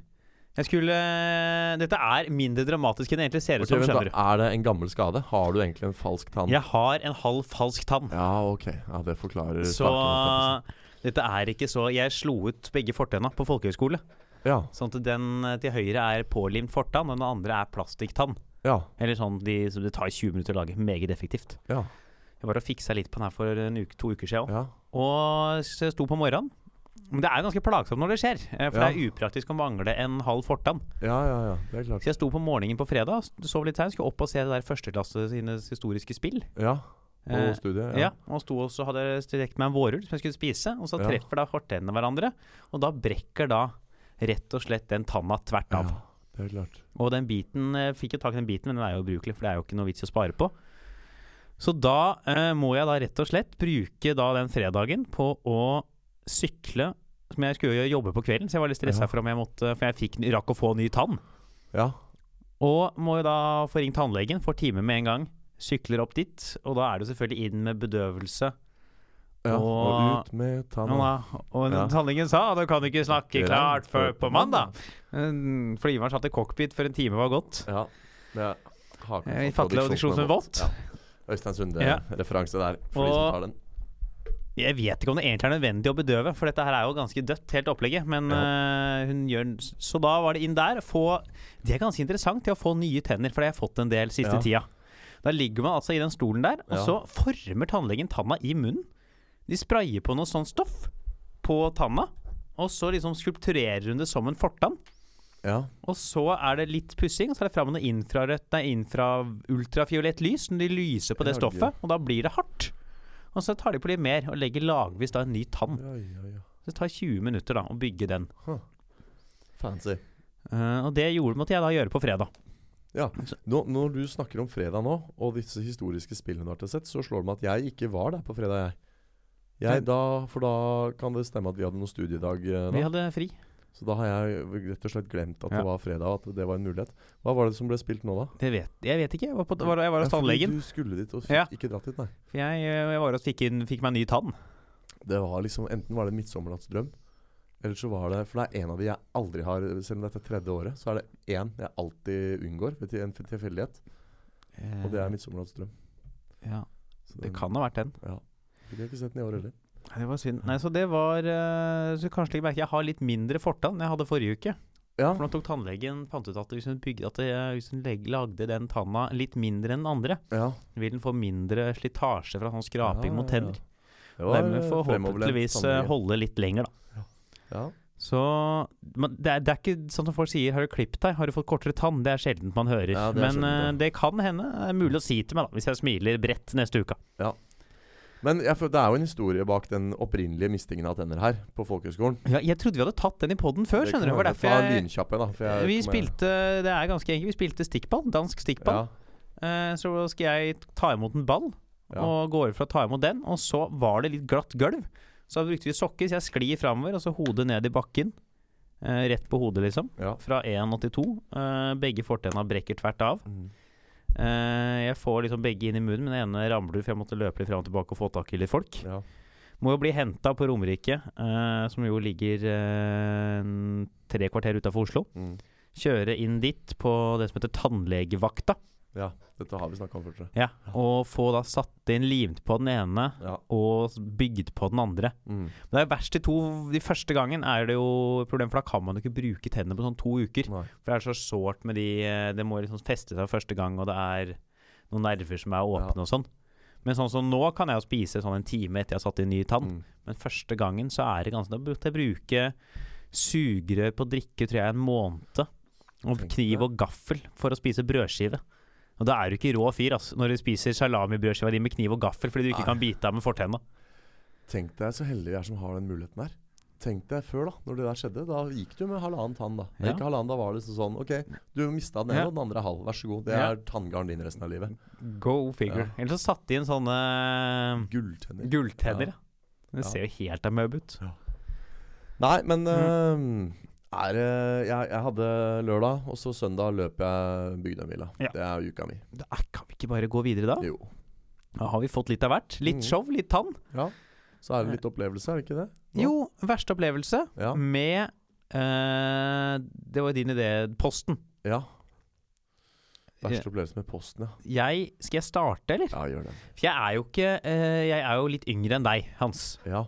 Jeg skulle eh, Dette er mindre dramatisk enn det egentlig ser ut
Ok,
som,
vent,
skjønner du.
da, er det en gammel skade? Har du egentlig en falsk tann?
Jeg har en halv falsk tann.
ja ok. Ja, det forklarer
Så
saken, holdt
dette er ikke så Jeg slo ut begge fortenna på folkehøyskole.
jeg på å si. Ja.
Sånn at den eh, til høyre er pålimt fortann, og den andre er plastikktann.
Ja.
Eller sånn de, som det tar 20 minutter å lage. Meget effektivt.
Ja.
Jeg var og fiksa litt på den her for en uke, to uker siden. også.
ja.
Og så jeg sto på morgenen. Men det er jo ganske plagsomt når det skjer, eh, for
Ja.
det er upraktisk å mangle en halv fortann.
Ja, ja, ja. Det er klart.
Så jeg sto på morgenen på fredag, sov litt seint, skulle opp og se det der førsteklasse sine historiske spill.
Ja. På
Eh,
studiet.
Ja, og sto og så hadde jeg strekt meg en vårrull som jeg skulle spise, og så
Ja.
treffer da fortennene hverandre, og da brekker da rett og slett den tanna tvert av.
Ja, det er klart.
Og den biten eh, fikk jo tak i den biten, men den er jo ubrukelig, for det er jo ikke noe vits i å spare på. Så da eh, må jeg da rett og slett bruke da den fredagen på å sykle, som jeg skulle jo jobbe på kvelden, så jeg var litt stressa
Ja.
for om jeg måtte For jeg fikk, rakk å få ny tann.
Ja.
Og må jo da få ringt tannlegen, får time med en gang. Sykler opp dit, og da er det jo selvfølgelig inn med bedøvelse.
ja. Og,
Og-
ut med
Og,
tanna.
da, og
Ja.
tannlegen sa at du kan ikke snakke
Ikke
klart
rent
før
før
på
på
mandag. Mm, Flyveren satt i cockpit før en time var gått.
Ja. Med haken
Eh,
for
Fattig og diksjon som
er
vått.
Ja. Øystein
Ja.
Sunde-referanse der. For de
Og-
som tar den.
Jeg vet ikke om det egentlig er nødvendig å bedøve, for dette her er jo ganske dødt, helt opplegget. Men eh, hun gjør Så da var det inn der. Få Det er ganske interessant til å få nye tenner, for det har jeg fått en del siste tida. Da ligger man altså i den stolen der, og
Ja.
så former tannlegen tanna i munnen. De sprayer sånn på noe sånt stoff på tanna, og Og så liksom skulpturerer hun det som en fortann.
Ja.
Og så er det litt pussing, og så er det fram med noe infrarødt, nei, infra, ultrafiolett lys. Når de lyser på det
Jaggu.
stoffet, og da blir det hardt. Og så tar de på litt mer, og legger lagvis da en ny tann.
Ja, ja, ja.
Det tar 20 minutter da å bygge den.
Fancy.
Eh, og det gjorde, måtte jeg da gjøre på fredag.
Nå, når du snakker om fredag nå, og disse historiske spillene du har til sett, så slår det meg at jeg ikke var der på fredag, jeg.
Nei.
jeg da, for da kan det stemme at vi hadde noen studiedag eh,
Vi
da.
hadde fri.
Så da har jeg rett og slett glemt at
Ja.
det var fredag, og at det var en mulighet. Hva var det som ble spilt nå, da?
Det vet, jeg vet ikke. Jeg var, på, var, jeg var
Ja,
hos
fordi
tannlegen.
Du skulle dit og fikk
Ja.
ikke dratt dit, nei.
For Jeg, eh, jeg var hos, fikk, inn, fikk meg en ny tann.
Det var liksom, Enten var det en midtsommernattsdrøm, eller så var det For det er en av de jeg aldri har Selv om dette er tredje året, så er det én jeg alltid unngår ved til- en tilfeldighet. Og det er midtsommernattsdrøm.
Eh, ja,
Så
Mm. det
den
kan ha vært den.
fikk jeg ikke sett den i år heller.
Nei, Det var synd. Nei, så det var eh, Så kanskje legge merke Jeg har litt mindre fortann enn jeg hadde forrige uke.
Ja,
For nå tok tannlegen fant ut at hvis hun, bygde, at eh, hvis hun leg- lagde den tanna litt mindre enn den andre,
ja.
vil den få mindre slitasje fra sånn skraping
Ja,
mot
ja, ja.
tenner. Og
Det var
Dermed
eh,
forhåpentligvis
fremoverlent
eh,
tannlege.
holde litt lenger, da.
Ja.
Så men det, er, det er ikke sånn som folk sier 'har du klippet deg', 'har du fått kortere tann'? Det er sjeldent man hører.
Ja, det er
Men
sjeldent,
eh, det kan hende. Det er mulig å si til meg, da, hvis jeg smiler bredt neste uke.
Men jeg, føler- det er jo en historie bak den opprinnelige mistingen av tenner her på folkehøgskolen.
Ja, jeg trodde vi hadde tatt den i poden før,
Det
skjønner
kan
du. Det var
hende.
derfor
Ta
jeg
lynkjapp en, da. for jeg
Vi
kommer-
spilte Det er ganske enkelt. Vi spilte stikkball. Dansk stikkball.
Ja,
Eh, så skal jeg ta imot en ball,
ja.
og gå over for å ta imot den. Og så var det litt glatt gulv, så da brukte vi sokker. Så jeg sklir framover, og så hodet ned i bakken. Eh, rett på hodet, liksom.
ja.
Fra 1,82. Eh, begge fortenna brekker tvert av.
Mm.
Eh, jeg får liksom begge inn i munnen, men den ene ramler ut, for jeg måtte løpe litt fram og tilbake og få tak i litt folk.
ja.
Må jo bli henta på Romerike, eh, som jo ligger eh, en tre kvarter utafor Oslo.
Mm.
kjøre inn dit på det som heter tannlegevakta,
ja. Dette har vi snakka om før, tror jeg.
ja, og få da satt inn limt på den ene
Ja.
og bygd på den andre.
Mm.
Men det er verst de to De første gangen er det jo et problem, for da kan man jo ikke bruke tennene på sånn to uker.
Nei.
For det er så sårt med de eh, Det må liksom feste seg første gang, og det er noen nerver som er åpne og sånn. Men sånn som nå kan jeg jo spise sånn en time etter jeg har satt inn ny tann.
Mm.
Men første gangen så er det ganske Da brukte jeg bruke sugerør på drikke, tror jeg, en måned. Og
Tenk
kniv
deg.
og gaffel for å spise brødskive. Og da er du ikke rå fyr altså, når du spiser salamibrødskiva di med kniv og gaffel fordi du ikke
Nei.
kan bite av med fortenna.
Tenk deg så heldige vi er som har den muligheten der. Tenk deg før, da. Når det der skjedde. Da gikk du med halvannen tann, da.
Ja.
Ikke halvannen, da var det liksom sånn OK, du mista den ene,
Ja.
og den andre er halv. Vær så god. Det
Ja.
er tanngarden din resten av livet.
Go figure.
Ja.
Eller så satte de sånn, inn sånne
Gulltenner.
gulltenner.
Ja.
Ja. eh, Det
Ja.
ser jo helt amøb ut.
Nei, men
Mm.
eh, er, eh, jeg, jeg hadde lørdag, og så søndag løp jeg Bygdøymila.
Ja.
Det er uka mi.
Da er- Kan vi ikke bare gå videre da?
Jo.
Da har vi fått litt av hvert. Litt
Mm.
show, litt tann.
Ja. Så er det litt opplevelse, er det ikke det? Nå?
Jo, verste opplevelse
Ja.
med eh, Det var din idé, Posten. Eh,
ja. Verste opplevelse med posten, ja.
Jeg, skal jeg starte, eller?
Ja, gjør det.
For jeg er jo ikke eh, Jeg er jo litt yngre enn deg, Hans.
Ja.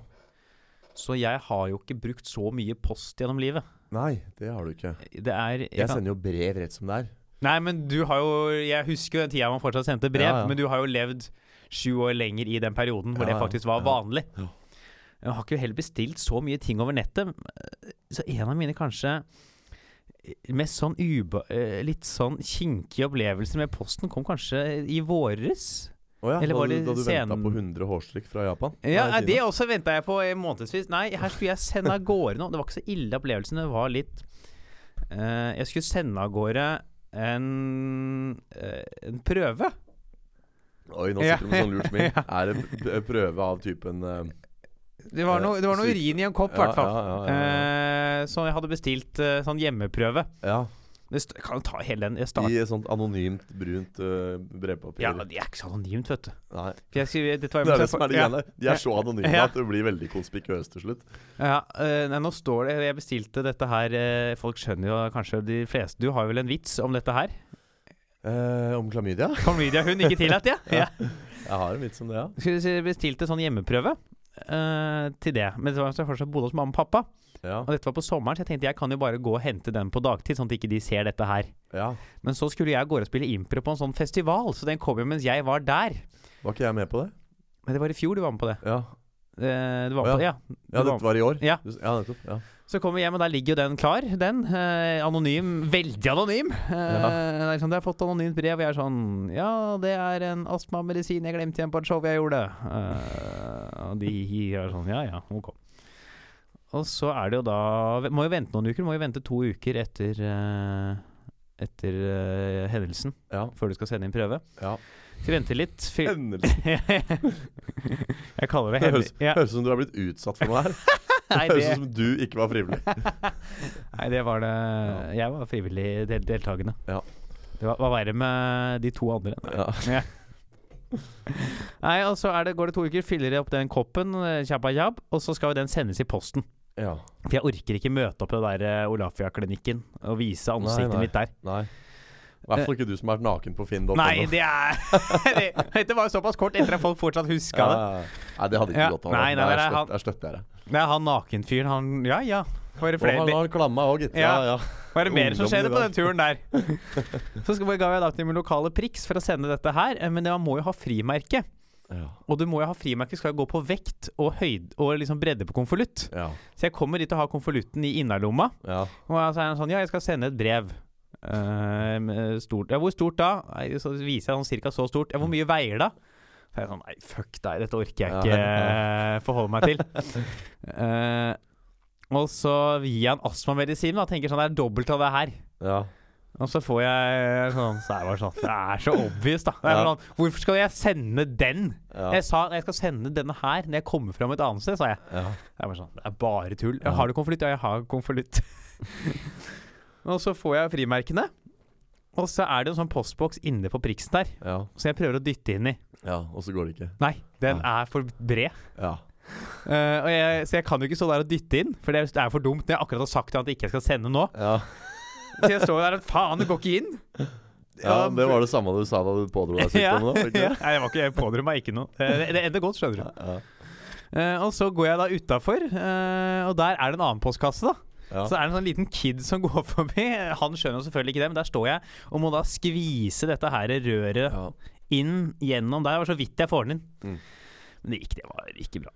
Så jeg har jo ikke brukt så mye post gjennom livet.
Nei, det har du ikke.
Det er jeg
Jeg
kan,
sender jo brev rett som det er.
Nei, men du har jo Jeg husker jo den tida man fortsatt sendte brev,
Ja, ja.
men du har jo levd sju år lenger i den perioden hvor
Ja,
det
ja,
faktisk var
ja.
vanlig.
Ja.
Jeg har ikke heller bestilt så mye ting over nettet. Så en av mine kanskje mest sånn uba... eh, Litt sånn kinkige opplevelser med posten kom kanskje i våres.
Å ja,
Eller
da
var
du,
det
da du venta
sen-
på 100 hårstrikk fra Japan?
Ja,
Nei,
nei, det
Kina.
også venta jeg på i månedsvis. Nei, her skulle jeg sende av gårde noe. Det var ikke så ille opplevelsen, det var litt eh, Jeg skulle sende av gårde en, eh, en prøve.
Oi, nå
Ja.
sitter du med sånn lurt smil. Er det p- p- prøve av typen eh,
Det var noe, det var noe
Sykt.
urin i en kopp, i
Eh, Ja,
hvert fall.
ja, ja, ja,
Eh, så jeg hadde bestilt eh, sånn hjemmeprøve.
ja.
Det st kan jo ta hele den. Jeg
ja.
starter
I et sånt anonymt, brunt eh, brevpapir.
Ja, men det er ikke så anonymt, vet du.
Nei.
For jeg skulle, dette var
Det er det som er det
Ja.
greiene. De er så anonyme
Ja.
at det blir veldig konspikuøst til slutt.
Ja, eh, nei, nå står det Jeg bestilte dette her eh, Folk skjønner jo kanskje de fleste Du har vel en vits om dette her?
Eh, om klamydia?
Klamydia hun ikke tillatt, ja? ja.
Jeg har en vits om det, ja.
Skulle si, bestilte sånn hjemmeprøve eh, til det. Men det var så jeg fortsatt bodde hos mamma og pappa.
Ja.
Og dette var på sommeren, så jeg tenkte jeg kan jo bare gå og hente den på dagtid, sånn at ikke de ser dette her.
ja.
Men så skulle jeg gå og spille impro på en sånn festival, så den kom jo mens jeg var der.
Var ikke jeg med på det?
Men det var i fjor du var med på det.
Ja.
Eh, det var
Å,
på, ja.
Ja, dette var i år?
Ja.
Du- ja nettopp. Ja.
Så kommer vi hjem, og der ligger jo den klar. Den. Eh, anonym. Veldig anonym. Eh, det er sånn, 'Jeg har fått anonymt brev.' Og jeg er sånn 'Ja, det er en astmamedisin jeg glemte igjen på et show jeg gjorde.' Eh, og de er sånn 'Ja ja, ok'. Og så er det jo da Må jo vente noen uker. Må jo vente to uker etter eh, etter eh, hendelsen
Ja.
før du skal sende inn prøve.
ja.
Så vi venter litt. fyr-
Hendelse.
jeg kaller det hendel...
Det høres,
Ja.
høres ut som du har blitt utsatt for noe her.
Nei,
det
det-
høres ut som du ikke var frivillig.
Nei, det var det Jeg var frivillig del deltakende.
Ja.
Det var, var verre med de to andre.
Ja.
Nei, og så er det, går det to uker, fyller jeg opp den koppen, eh, kjabba kjabb, og så skal jo den sendes i posten.
ja.
For jeg orker ikke møte opp på det der eh, Olafia-klinikken og vise ansiktet
nei.
mitt der.
Nei. I hvert fall ikke du som har vært naken på Finn.no.
Nei, det er det, Dette var jo såpass kort etter at folk fortsatt huska det.
Ja. Ah. Nei, det hadde ikke
Ja.
gått an.
Nei, nei,
Der
nei,
støt-
han-
Der støtter jeg deg.
Nei, han nakenfyren, han Ja ja. Var det
Og han
flere,
har klamma òg, gitt. Ja,
Ja.
ja.
Var det mer som
Ungdommen
skjedde
i
på den
dag.
turen der? Så skal- ga jeg da til min lokale Prix for å sende dette her, eh, men man må jo ha frimerke.
ja.
Og du må jo ha frimerke, skal jo gå på vekt og, høyde, og liksom bredde på konvolutt.
ja.
Så jeg kommer dit og har konvolutten i innerlomma,
ja.
og så er han sånn Ja, jeg skal sende et brev. Eh, med stort. Ja, hvor stort da? Nei, Så viser jeg sånn cirka så stort. Ja, hvor mye veier da? Så er jeg sånn Nei, fuck deg, dette orker jeg
Ja,
ikke
ja.
eh, forholde meg til. Eh, og så gir jeg en astmamedisin og tenker sånn Det er dobbelt av det her.
ja.
Og så får jeg sånn Så jeg var sånn Det er så obvious, da. Det er
Ja.
sånn, hvorfor skal jeg sende den?
Ja.
Jeg sa jeg skal sende denne her når jeg kommer fram et annet sted, sa jeg.
ja.
Det er bare sånn Det er bare tull.
Ja.
Jeg har du konvolutt? Ja, jeg har konvolutt. og så får jeg frimerkene. Og så er det en sånn postboks inne på priksen der,
ja.
som jeg prøver å dytte inn i.
ja. Og så går det ikke.
Nei, den
Ja.
er for bred.
Ja.
Eh, og jeg, så jeg kan jo ikke stå der og dytte inn, for det er- det er for dumt når jeg akkurat har sagt til han at jeg ikke skal sende nå.
Ja.
Så jeg står der og faen, det går ikke inn.
ja, Det var det samme du sa da du pådro deg sykdommen òg, var det
ja.
ikke det?
Nei, det var ikke, jeg pådro meg ikke noe. Eh, Det, det endte godt, skjønner du.
Ja.
Eh, og så går jeg da utafor, eh, og der er det en annen postkasse, da.
Ja.
Så er det en sånn liten kid som går forbi. Han skjønner jo selvfølgelig ikke det, men der står jeg og må da skvise dette her røret
Ja.
inn gjennom der. Det var så vidt jeg får den inn.
Mm.
Men det gikk, det var ikke bra.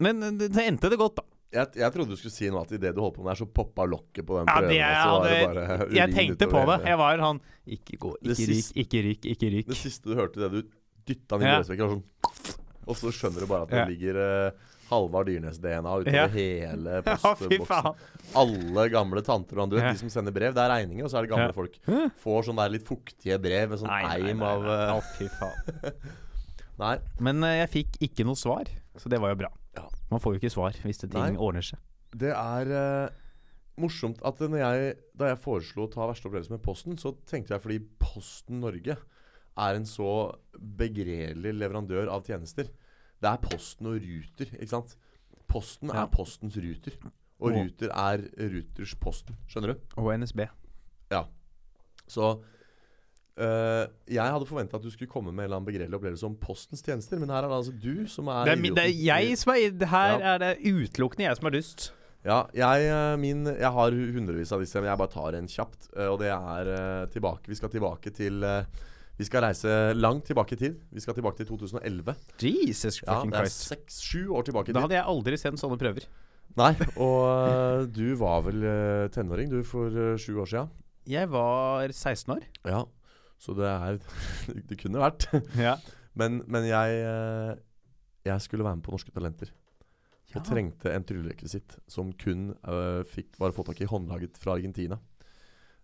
Men eh, det, det endte det godt, da.
Jeg, jeg trodde du skulle si noe at idet du holdt på med det, her, så poppa lokket på den
Ja,
prøven.
det,
og
jeg,
så var det
hadde,
bare urin
jeg tenkte på det.
utover hele-
Jeg var sånn Ikke gå,
Det
ikke ryk,
siste-
ikke ryk, ikke ryk.
Det siste du hørte, det du dytta den i
Ja.
brødsvekken, var sånn Og så skjønner du bare at det
Ja.
ligger uh, Halvard Dyrnes-DNA utover
Ja.
hele
Ja, fy
postboksen.
faen.
Alle gamle tanter og andre,
Ja.
de som sender brev, det er regninger, og så er det gamle
Ja.
folk. Får sånn der litt fuktige brev med sånn eim av
Å,
eh,
fy faen.
Nei.
Men eh, jeg fikk ikke noe svar, så det var jo bra.
Ja.
Man får jo ikke svar hvis det ting
Nei.
ordner seg.
Det er eh, morsomt at når jeg, da jeg foreslo å ta verste opplevelse med Posten, så tenkte jeg fordi Posten Norge er en så begredelig leverandør av tjenester. Det er Posten og Ruter, ikke sant? Posten
Ja.
er Postens Ruter.
Og-
Og Ruter er Ruters Posten. Skjønner du?
Og NSB.
Så eh, jeg hadde forventa at du skulle komme med en eller annen begredelig opplevelse om Postens tjenester, men her er det altså du som er
Det er, mi- det er
idioten.
jeg som er i- Her
Ja.
er det utelukkende jeg som er dust.
Ja, jeg, eh, min, jeg har hundrevis av disse, men jeg bare tar en kjapt. eh, Og det er eh, tilbake Vi skal tilbake til eh, Vi skal reise langt tilbake i tid. Vi skal tilbake til 2011.
Jesus
Ja,
fucking
det er
Christ.
seks-sju år tilbake i
Da
tid.
hadde jeg aldri sendt sånne prøver.
Nei, og eh, du var vel eh, tenåring, du, for eh, sju år sia.
Jeg var 16 år.
Ja. Så det er Det kunne vært.
Ja.
Men, men jeg eh, Jeg skulle være med på Norske Talenter. Og trengte en tryllerekvisitt som kun eh, fikk, var å få tak i håndlaget fra Argentina.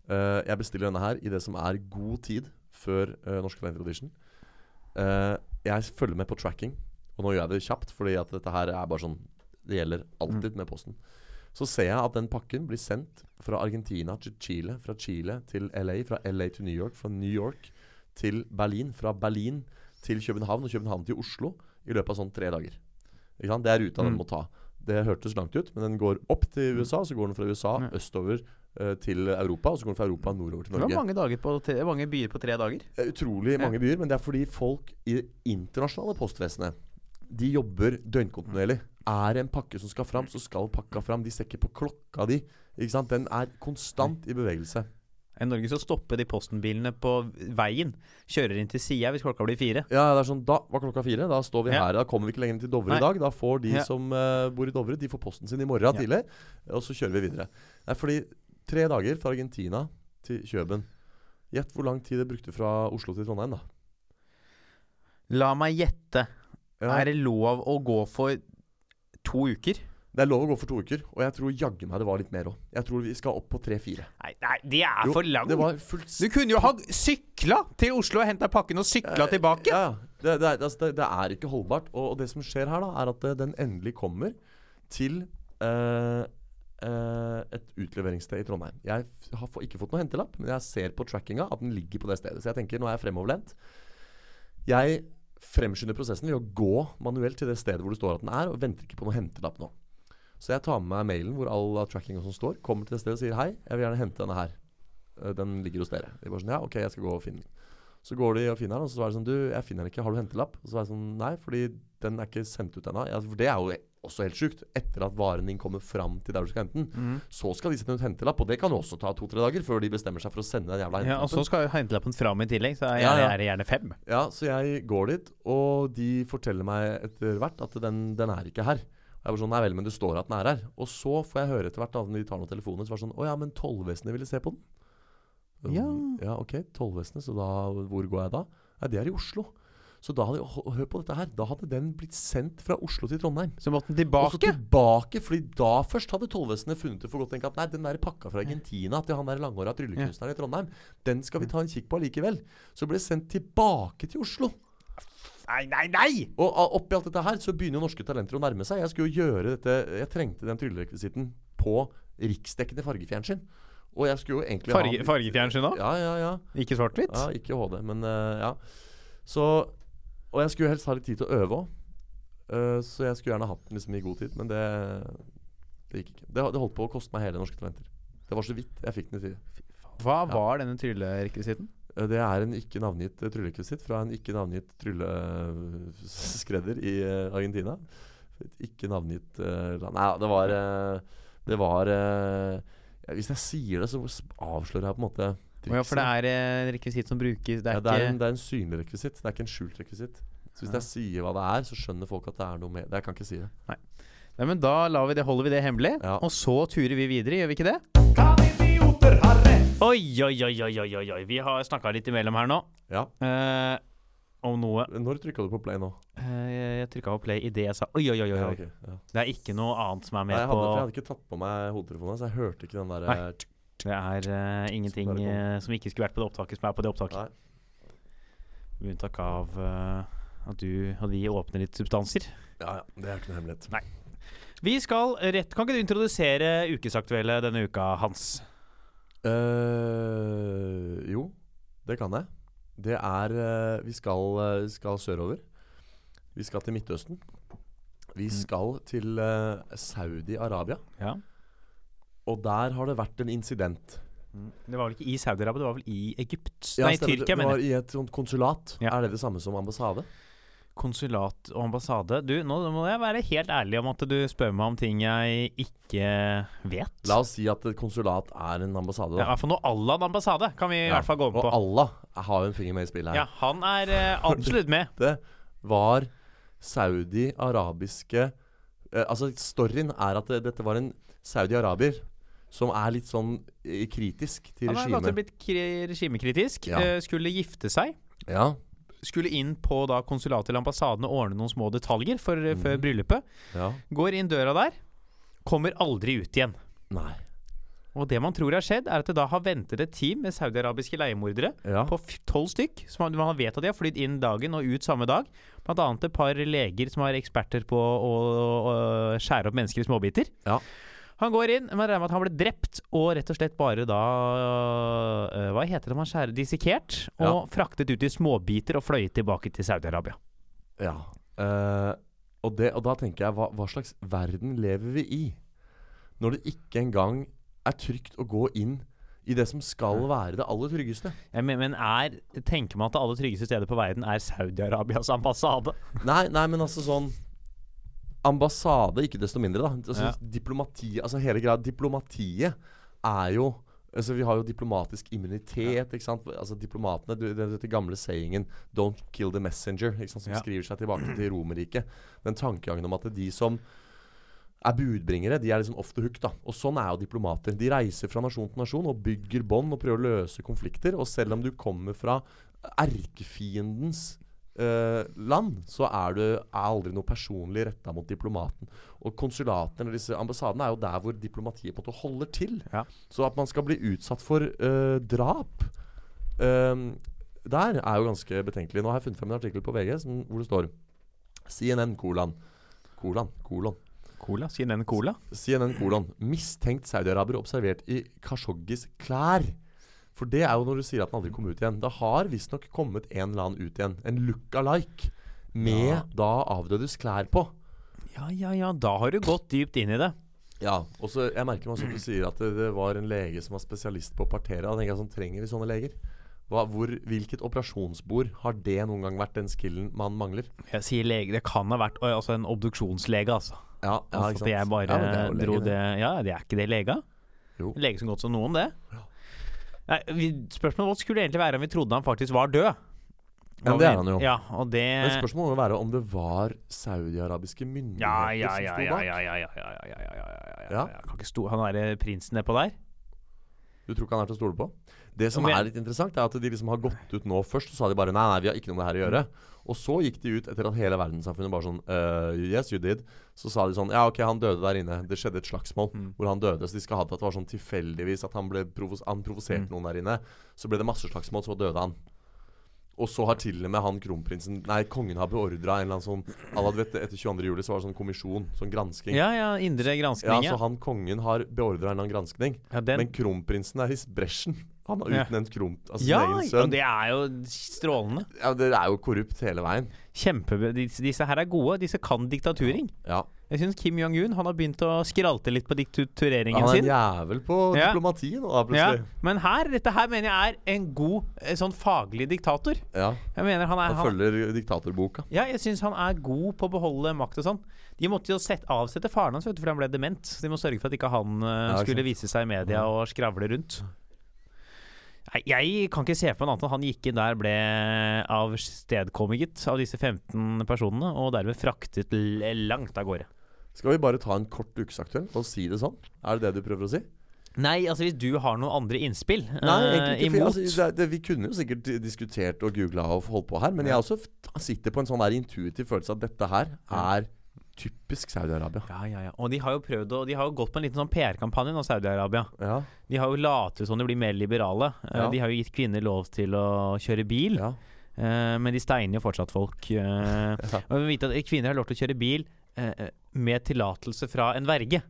Eh, jeg bestiller denne her i det som er god tid før eh, Norske Talenter Audition. Eh, jeg følger med på tracking, og nå gjør jeg det kjapt, fordi at dette her er bare sånn Det gjelder alltid med posten. Så ser jeg at den pakken blir sendt fra Argentina til Chile, fra Chile til LA, fra LA til New York, fra New York til Berlin, fra Berlin til København og København til Oslo i løpet av sånn tre dager. Ikke sant? Det er ruta den
Mm.
må ta. Det hørtes langt ut, men den går opp til USA, så går den fra USA
Ja.
østover eh, til Europa, og så går den fra Europa nordover til
Det var
Norge.
mange, dager på, tre- mange byer på tre dager.
Det er Utrolig mange byer, men det er fordi folk i det internasjonale postvesenet de jobber døgnkontinuerlig. Er det en pakke som skal fram, så skal pakka fram. De ser ikke på klokka di. Ikke sant? Den er konstant i bevegelse.
I Norge så stopper de Posten-bilene på veien. Kjører inn til sida hvis klokka blir fire.
Ja, det er sånn, Da var klokka fire, da står vi
Ja.
her. Da kommer vi ikke lenger enn til Dovre
Nei.
i dag. Da får de
Ja.
som eh, bor i Dovre, de får posten sin i morgen
Ja.
tidlig. Og så kjører vi videre. Det er fordi tre dager fra Argentina til Kjøben. Gjett hvor lang tid det brukte fra Oslo til Trondheim, da.
La meg gjette.
Ja,
Er det lov å gå for to uker?
Det er lov å gå for to uker, og jeg tror jaggu meg det var litt mer òg. Jeg tror vi skal opp på tre-fire.
Nei, nei det er
Jo,
for langt.
Det var fullt
Du kunne jo ha sykla til Oslo og henta pakken og sykla tilbake.
Ja, ja. Det, det, er- altså, det, det er ikke holdbart. Og, og det som skjer her, da, er at eh, den endelig kommer til eh, eh, et utleveringssted i Trondheim. Jeg f- har få, ikke fått noen hentelapp, men jeg ser på trackinga at den ligger på det stedet. Så jeg tenker, nå er jeg fremoverlent. Jeg fremskynder prosessen ved å gå manuelt til det stedet hvor det står at den er, og venter ikke på noen hentelapp nå. Så jeg tar med meg mailen hvor all av trackinga som står, kommer til det stedet og sier hei, jeg vil gjerne hente denne her. Eh, Den ligger hos dere. De bare sånn, ja, ok, jeg skal gå og finne den. Så går de og finner den, og så er det sånn Du, jeg finner den ikke, har du hentelapp? Og så er det sånn Nei, fordi den er ikke sendt ut ennå. Ja, for det er jo også helt sjukt. Etter at varen din kommer fram til der du skal hente den, så skal de sende ut hentelapp. Og det kan jo også ta to-tre dager før de bestemmer seg for å sende den jævla
Ja, altså, og
hentelappen.
så skal jo hentelappen fram i tillegg, så er
altså- Ja, ja.
er det gjerne fem.
Ja, så jeg går dit, og de forteller meg etter hvert at den, den er ikke her. Og jeg var sånn, nei vel, men det står at den er her. Og så får jeg høre etter hvert da, når de tar noen telefoner, så var det sånn, å ja, men tollvesenet ville se på den.
Ja.
Um, Ja, ok, tollvesenet, så da, hvor går jeg da? Nei, det er i Oslo. Så da hadde, hør- hør på dette her, da hadde den blitt sendt fra Oslo til Trondheim.
Så måtte den
Og så
tilbake.
tilbake, fordi da først hadde tollvesenet funnet det for godt å tenke at nei, den der pakka fra Argentina til han der langåra tryllekunstneren i Trondheim, den skal vi ta en kikk på allikevel. Så ble det sendt tilbake til Oslo.
Nei, nei, nei!
Og a- oppi alt dette her så begynner jo norske talenter å nærme seg. Jeg skulle jo gjøre dette Jeg trengte den tryllerekvisitten på riksdekkende fargefjernsyn. Og jeg skulle jo egentlig
Farge,
ha
fargefjernsyn òg?
Ja, ja, ja.
Ikke svart-hvitt?
ja ikke HD, men eh, ja. Så Og jeg skulle helst ha litt tid til å øve òg. så jeg skulle gjerne hatt den liksom i god tid, men det, det gikk ikke. Det, det holdt på å koste meg hele Norske Talenter. Det var så vidt jeg fikk den i tide.
Hva var denne tryllerekvisitten?
Eh, Det er en ikke navngitt eh, tryllerekvisitt fra en ikke navngitt trylleskredder i eh, Argentina. Et ikke navngitt eh, land Nei, det var eh, Det var eh, ja, Hvis jeg sier det, så s- avslører jeg på en måte
Ja, for det
trikset.
er eh, rekvisitt som brukes Det
Ja,
er
det, er
ikke
en, det er en synlig rekvisitt. Det er ikke en skjult rekvisitt. Så
Ja.
hvis jeg sier hva det er, så skjønner folk at det er noe med Jeg kan ikke si det.
Nei, men Da lar vi det, holder vi det hemmelig,
Ja.
og så turer vi videre, gjør vi ikke det? Oi, oi, oi, oi, oi, oi, oi. Vi har snakka litt imellom her nå.
Ja.
eh, om noe
Når trykka du på play nå?
Eh, Jeg, jeg trykka på play idet jeg sa oi, oi, oi. oi.
Ja,
oi.
ok, ja.
Det er ikke noe annet som er
Nei,
med
jeg,
på
hadde, for jeg hadde ikke tatt på meg hodetelefonene, så jeg hørte ikke den der
Nei.
eh, tsk.
Det er eh, ingenting
Som bare kom.
eh, som ikke skulle vært på det opptaket som er på det opptaket.
Nei.
Med unntak av eh, at du og vi åpner litt substanser.
Ja, ja. Det er ikke noe hemmelighet.
Vi skal rett Kan ikke du introdusere ukesaktuelle denne uka, Hans?
eh jo, det kan jeg. Det er eh, Vi skal, eh, vi skal sørover. Vi skal til Midtøsten.
Mm.
Vi skal til eh, Saudi-Arabia.
Ja.
Og der har det vært en incident.
Det var vel ikke i Saudi-Arabia, det var vel i Egypt?
Mm. Ja,
Nei,
stemmer.
Tyrkia,
det, det
mener jeg.
var i et sånt konsulat.
Ja.
Er det det samme som ambassade?
Konsulat og ambassade. Du, nå må jeg være helt ærlig om at du spør meg om ting jeg ikke vet.
La oss si at et konsulat er en ambassade.
ja, I
Da.
hvert fall noe à la en ambassade kan vi i hvert fall gå med
Og
på.
Allah har jo en finger med i spillet her.
Ja, han er eh, absolutt med.
dette var saudi-arabiske eh, Altså, storyen er at det, dette var en saudi-arabier som er litt sånn eh, kritisk til
Han er lagt til å
regimet.
blitt kri- regimekritisk.
Ja.
eh, Skulle gifte seg.
Ja,
Skulle inn på da konsulatet eller ambassaden og ordne noen små detaljer for, eh, før
Mhm.
bryllupet.
ja.
Går inn døra der, kommer aldri ut igjen.
Nei.
Og det man tror har skjedd, er at det da har ventet et team med saudiarabiske leiemordere
Ja.
på tolv stykk, som man- man vet at de har flydd inn dagen og ut samme dag. Blant annet et par leger som er eksperter på å, å, å skjære opp mennesker i småbiter.
Ja.
Han går inn, man regner med at han ble drept og rett og slett bare da øh, Hva heter det man skjærer? Dissekert. Og
Ja.
fraktet ut i småbiter og fløyet tilbake til Saudi-Arabia.
ja. Eh, og, det, og da tenker jeg, hva, hva slags verden lever vi i? Når det ikke engang er trygt å gå inn i det som skal være det aller tryggeste.
Jeg men, men er, tenker man at det aller tryggeste stedet på verden er Saudi-Arabias ambassade?
Nei, nei, men altså sånn Ambassade, ikke desto mindre, da. Altså,
Ja.
Diplomati, altså hele greia Diplomatiet er jo Altså, vi har jo diplomatisk immunitet. ikke sant? Altså, diplomatene, du, den, Dette gamle sayingen 'don't kill the messenger', ikke sant? som
Ja.
skriver seg tilbake til Romerriket. Den tankegangen om at de som er budbringere, de er liksom off the hook. da. Og Sånn er jo diplomater. De reiser fra nasjon til nasjon og bygger bånd og prøver å løse konflikter. Og selv om du kommer fra erkefiendens eh, land, så er du er aldri noe personlig retta mot diplomaten. Og konsulatene og disse ambassadene er jo der hvor diplomatiet på en måte holder til.
Ja.
Så at man skal bli utsatt for eh, drap ehm, der, er jo ganske betenkelig. Nå har jeg funnet frem en artikkel på VG som, hvor det står CNN kolon kolon kolon
Cola? CNN Cola?
CNN kolon mistenkt saudiaraber observert i Khashoggis klær. For det er jo når du sier at den aldri kom ut igjen. Det har visstnok kommet en eller annen ut igjen. En look-alike med
Ja.
da avdødes klær på.
Ja, ja, ja. Da har du gått dypt inn i det.
Ja, og så Jeg merker meg også at du sier at det, det var en lege som var spesialist på å partere. Da tenker jeg sånn, Trenger vi sånne leger? Hva, hvor, hvilket operasjonsbord har det noen gang vært den skillen man mangler?
Jeg sier lege, det kan ha vært oi, altså en obduksjonslege, altså.
Ja,
altså at jeg bare
men det er jo
dro
legen,
det Ja, det er ikke det lega?
Jo.
En Lege som godt som noen, det? Nei, vi, spørsmålet vårt skulle egentlig være om vi trodde han faktisk var død.
Ja, men det er han jo.
Ja, og det
Men spørsmålet må jo være om det var saudiarabiske myndigheter
Ja, ja,
som
ja,
sto
ja,
bak.
ja, ja, ja, ja, ja, ja, ja, ja, ja,
Ja.
ja. Kan ikke stå han derre prinsen nedpå der?
Du tror ikke han er til å stole på? Det som
Men jeg-
er litt interessant, er at de liksom har gått ut nå først, så sa de bare nei, nei, vi har ikke noe med det her å gjøre. Og så gikk de ut etter at hele verdenssamfunnet bare sånn «Øh, Yes, you did. Så sa de sånn Ja, OK, han døde der inne. Det skjedde et slagsmål
Mm.
hvor han døde. Så de skal ha det at det var sånn tilfeldigvis at han, ble provos han
Mm.
provoserte noen der inne. Så ble det masseslagsmål, så døde han. Og så har til og med han kronprinsen Nei, kongen har beordra en eller annen sånn Alla, du vet, Etter 22. juli så var det sånn kommisjon, sånn gransking.
Ja, ja, indre
Ja,
granskning.
så
Ja,
han kongen har beordra en eller annen granskning.
ja, den,
Men kronprinsen er i bresjen. Han har
Ja.
utnevnt kron... Altså sin
ja
egen
og
sønn.
det er jo strålende.
Ja, det er jo korrupt hele veien.
Kjempe, disse, disse her er gode. Disse kan diktaturing.
Ja.
Jeg syns Kim Jong-un han har begynt å skralte litt på diktatureringen
Han er
sin.
en jævel på
Ja.
diplomati nå, da,
Ja,
plutselig.
men her, dette her mener jeg er en god eh, sånn faglig diktator.
Ja.
Jeg mener han er
Han
han,
følger diktatorboka.
Ja, jeg syns han er god på å beholde makt og sånn. De måtte jo sette, avsette faren hans vet du, fordi han ble dement. Så de må sørge for at ikke han eh,
ikke
skulle
sant.
vise seg i media og skravle rundt. Nei, Jeg kan ikke se for meg noe annet enn at han gikk inn der, ble avstedkommet av disse 15 personene, og derved fraktet l- langt av gårde.
Skal vi bare ta en kort ukesaktuell og si det sånn? Er det det du prøver å si?
Nei, altså hvis du har noen andre innspill eh,
for
imot
altså, det, det, vi kunne jo sikkert diskutert og googla og holdt på her, men jeg også f- sitter på en sånn der intuitiv følelse at dette her er typisk Saudi-Arabia.
ja, ja, ja. Og de har jo prøvd å, de har jo gått på en liten sånn PR-kampanje nå, Saudi-Arabia.
Ja.
De har jo latet som de blir mer liberale. Eh,
Ja.
De har jo gitt kvinner lov til å kjøre bil,
ja.
eh, men de steiner jo fortsatt folk. eh. Og vi vet at kvinner har lov til å kjøre bil eh, med tillatelse fra en verge.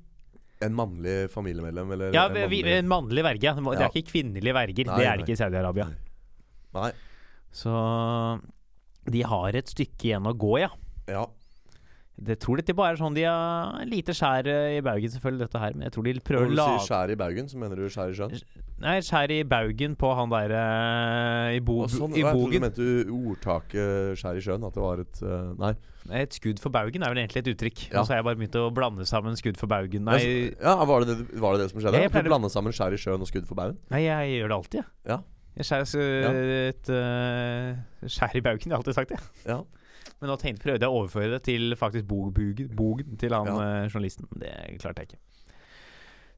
En mannlig familiemedlem, eller
Ja,
Eh, en
vi, vi-
mannlig-
en mannlig verge. Det må- det er
Ja.
ikke kvinnelige verger.
Nei,
det er det
nei.
ikke i Saudi-Arabia.
Nei.
Så de har et stykke igjen å gå, ja.
Ja.
Det tror dette bare er sånn de har lite skjær eh, i baugen, selvfølgelig, dette her. Men jeg tror de prøver
Når
å
du sier
lage
skjær i Baugen, så mener du skjær i sjøen?
Nei, skjær i baugen på han derre i, bo,
Og sånn,
i
jeg trodde du
bogen.
mente du ordtaket 'skjær i sjøen', at det var et eh, Nei.
Et skudd for baugen er vel egentlig et uttrykk.
Ja.
Nå så har jeg bare begynt å blande sammen skudd for baugen. Nei,
Ja, var det det, var det, det som skjedde?
Ja, jeg
At du
pleier-
blanda sammen skjær i sjøen og skudd for baugen?
nei jeg gjør det alltid, jeg.
Ja.
Jeg skjærer så-
Ja.
et eh, skjær i baugen, jeg har alltid sagt det.
Ja.
Men nå tenkte, prøvde jeg å overføre det til faktisk bog, bogen, bogen til han
Ja.
eh, journalisten. Men det klarte jeg ikke.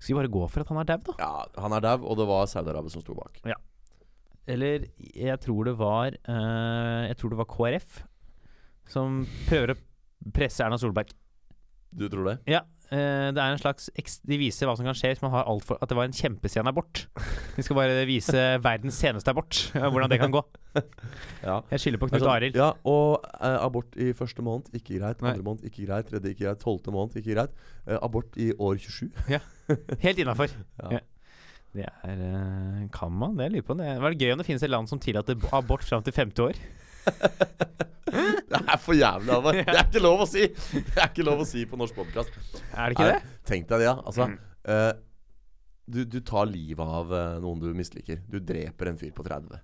Skal vi bare gå for at han er dau, da?
ja han er dau, og det var Saudi-Arabia som sto bak.
Eller jeg tror det var eh, Jeg tror det var KrF som prøver å presse Erna Solberg.
Du tror det?
Eh, det er en slags eks- De viser hva som kan skje hvis man har alt for At det var en kjempesen abort. De skal bare vise verdens seneste abort, ja, hvordan det kan gå.
Ja.
Jeg skylder på
Det er
Knut
sånn,
Arild.
Ja, og eh, abort i første måned, ikke greit.
Nei.
Andre måned, ikke greit. Tredje, ikke greit. Tolvte måned, ikke greit. Eh, abort i år 27.
Helt innafor.
Ja.
Ja. Det er eh, Kan man det? Jeg lurer på det. Det var gøy om det finnes et land som tillater b- abort fram til 50 år.
Det er for jævlig, Halvard. Det er ikke lov å si! Det er ikke lov å si på norsk podkast.
Er det ikke
Nei,
det?
Tenk deg det, ja. Altså,
Mm.
eh, du, du tar livet av eh, noen du misliker. Du dreper en fyr på 30.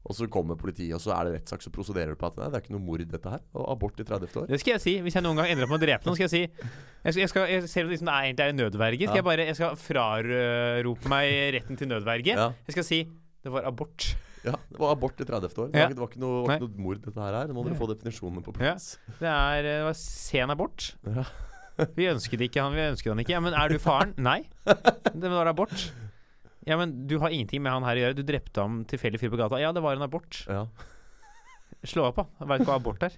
Og så kommer politiet, og så er det rettssak, så prosederer du på at nei, det er ikke noe mord, dette her. Og abort i 30. år.
Det skal jeg si. Hvis jeg noen gang ender opp med å drepe noen, skal jeg si jeg, skal, jeg, skal, jeg Selv om det liksom er- egentlig er en nødverge, skal
Ja.
jeg bare jeg skal frarope meg retten til nødverge.
Ja.
Jeg skal si det var abort.
Ja, det var abort i 30. år. Det
Ja.
var ikke- Det var ikke noe, var ikke noe mord, dette her. er. Nå må dere få definisjonene på
Ja.
plass.
Det, er, eh, det var sen abort.
Ja.
Vi ønsket ikke han, vi ønsket han ikke. Ja, men er du faren? Nei. Det var abort. Ja, men du har ingenting med han her å gjøre. Du drepte ham tilfeldig fyr på gata. Ja, det var en abort.
Ja.
Slå opp, da. Veit ikke hva abort er.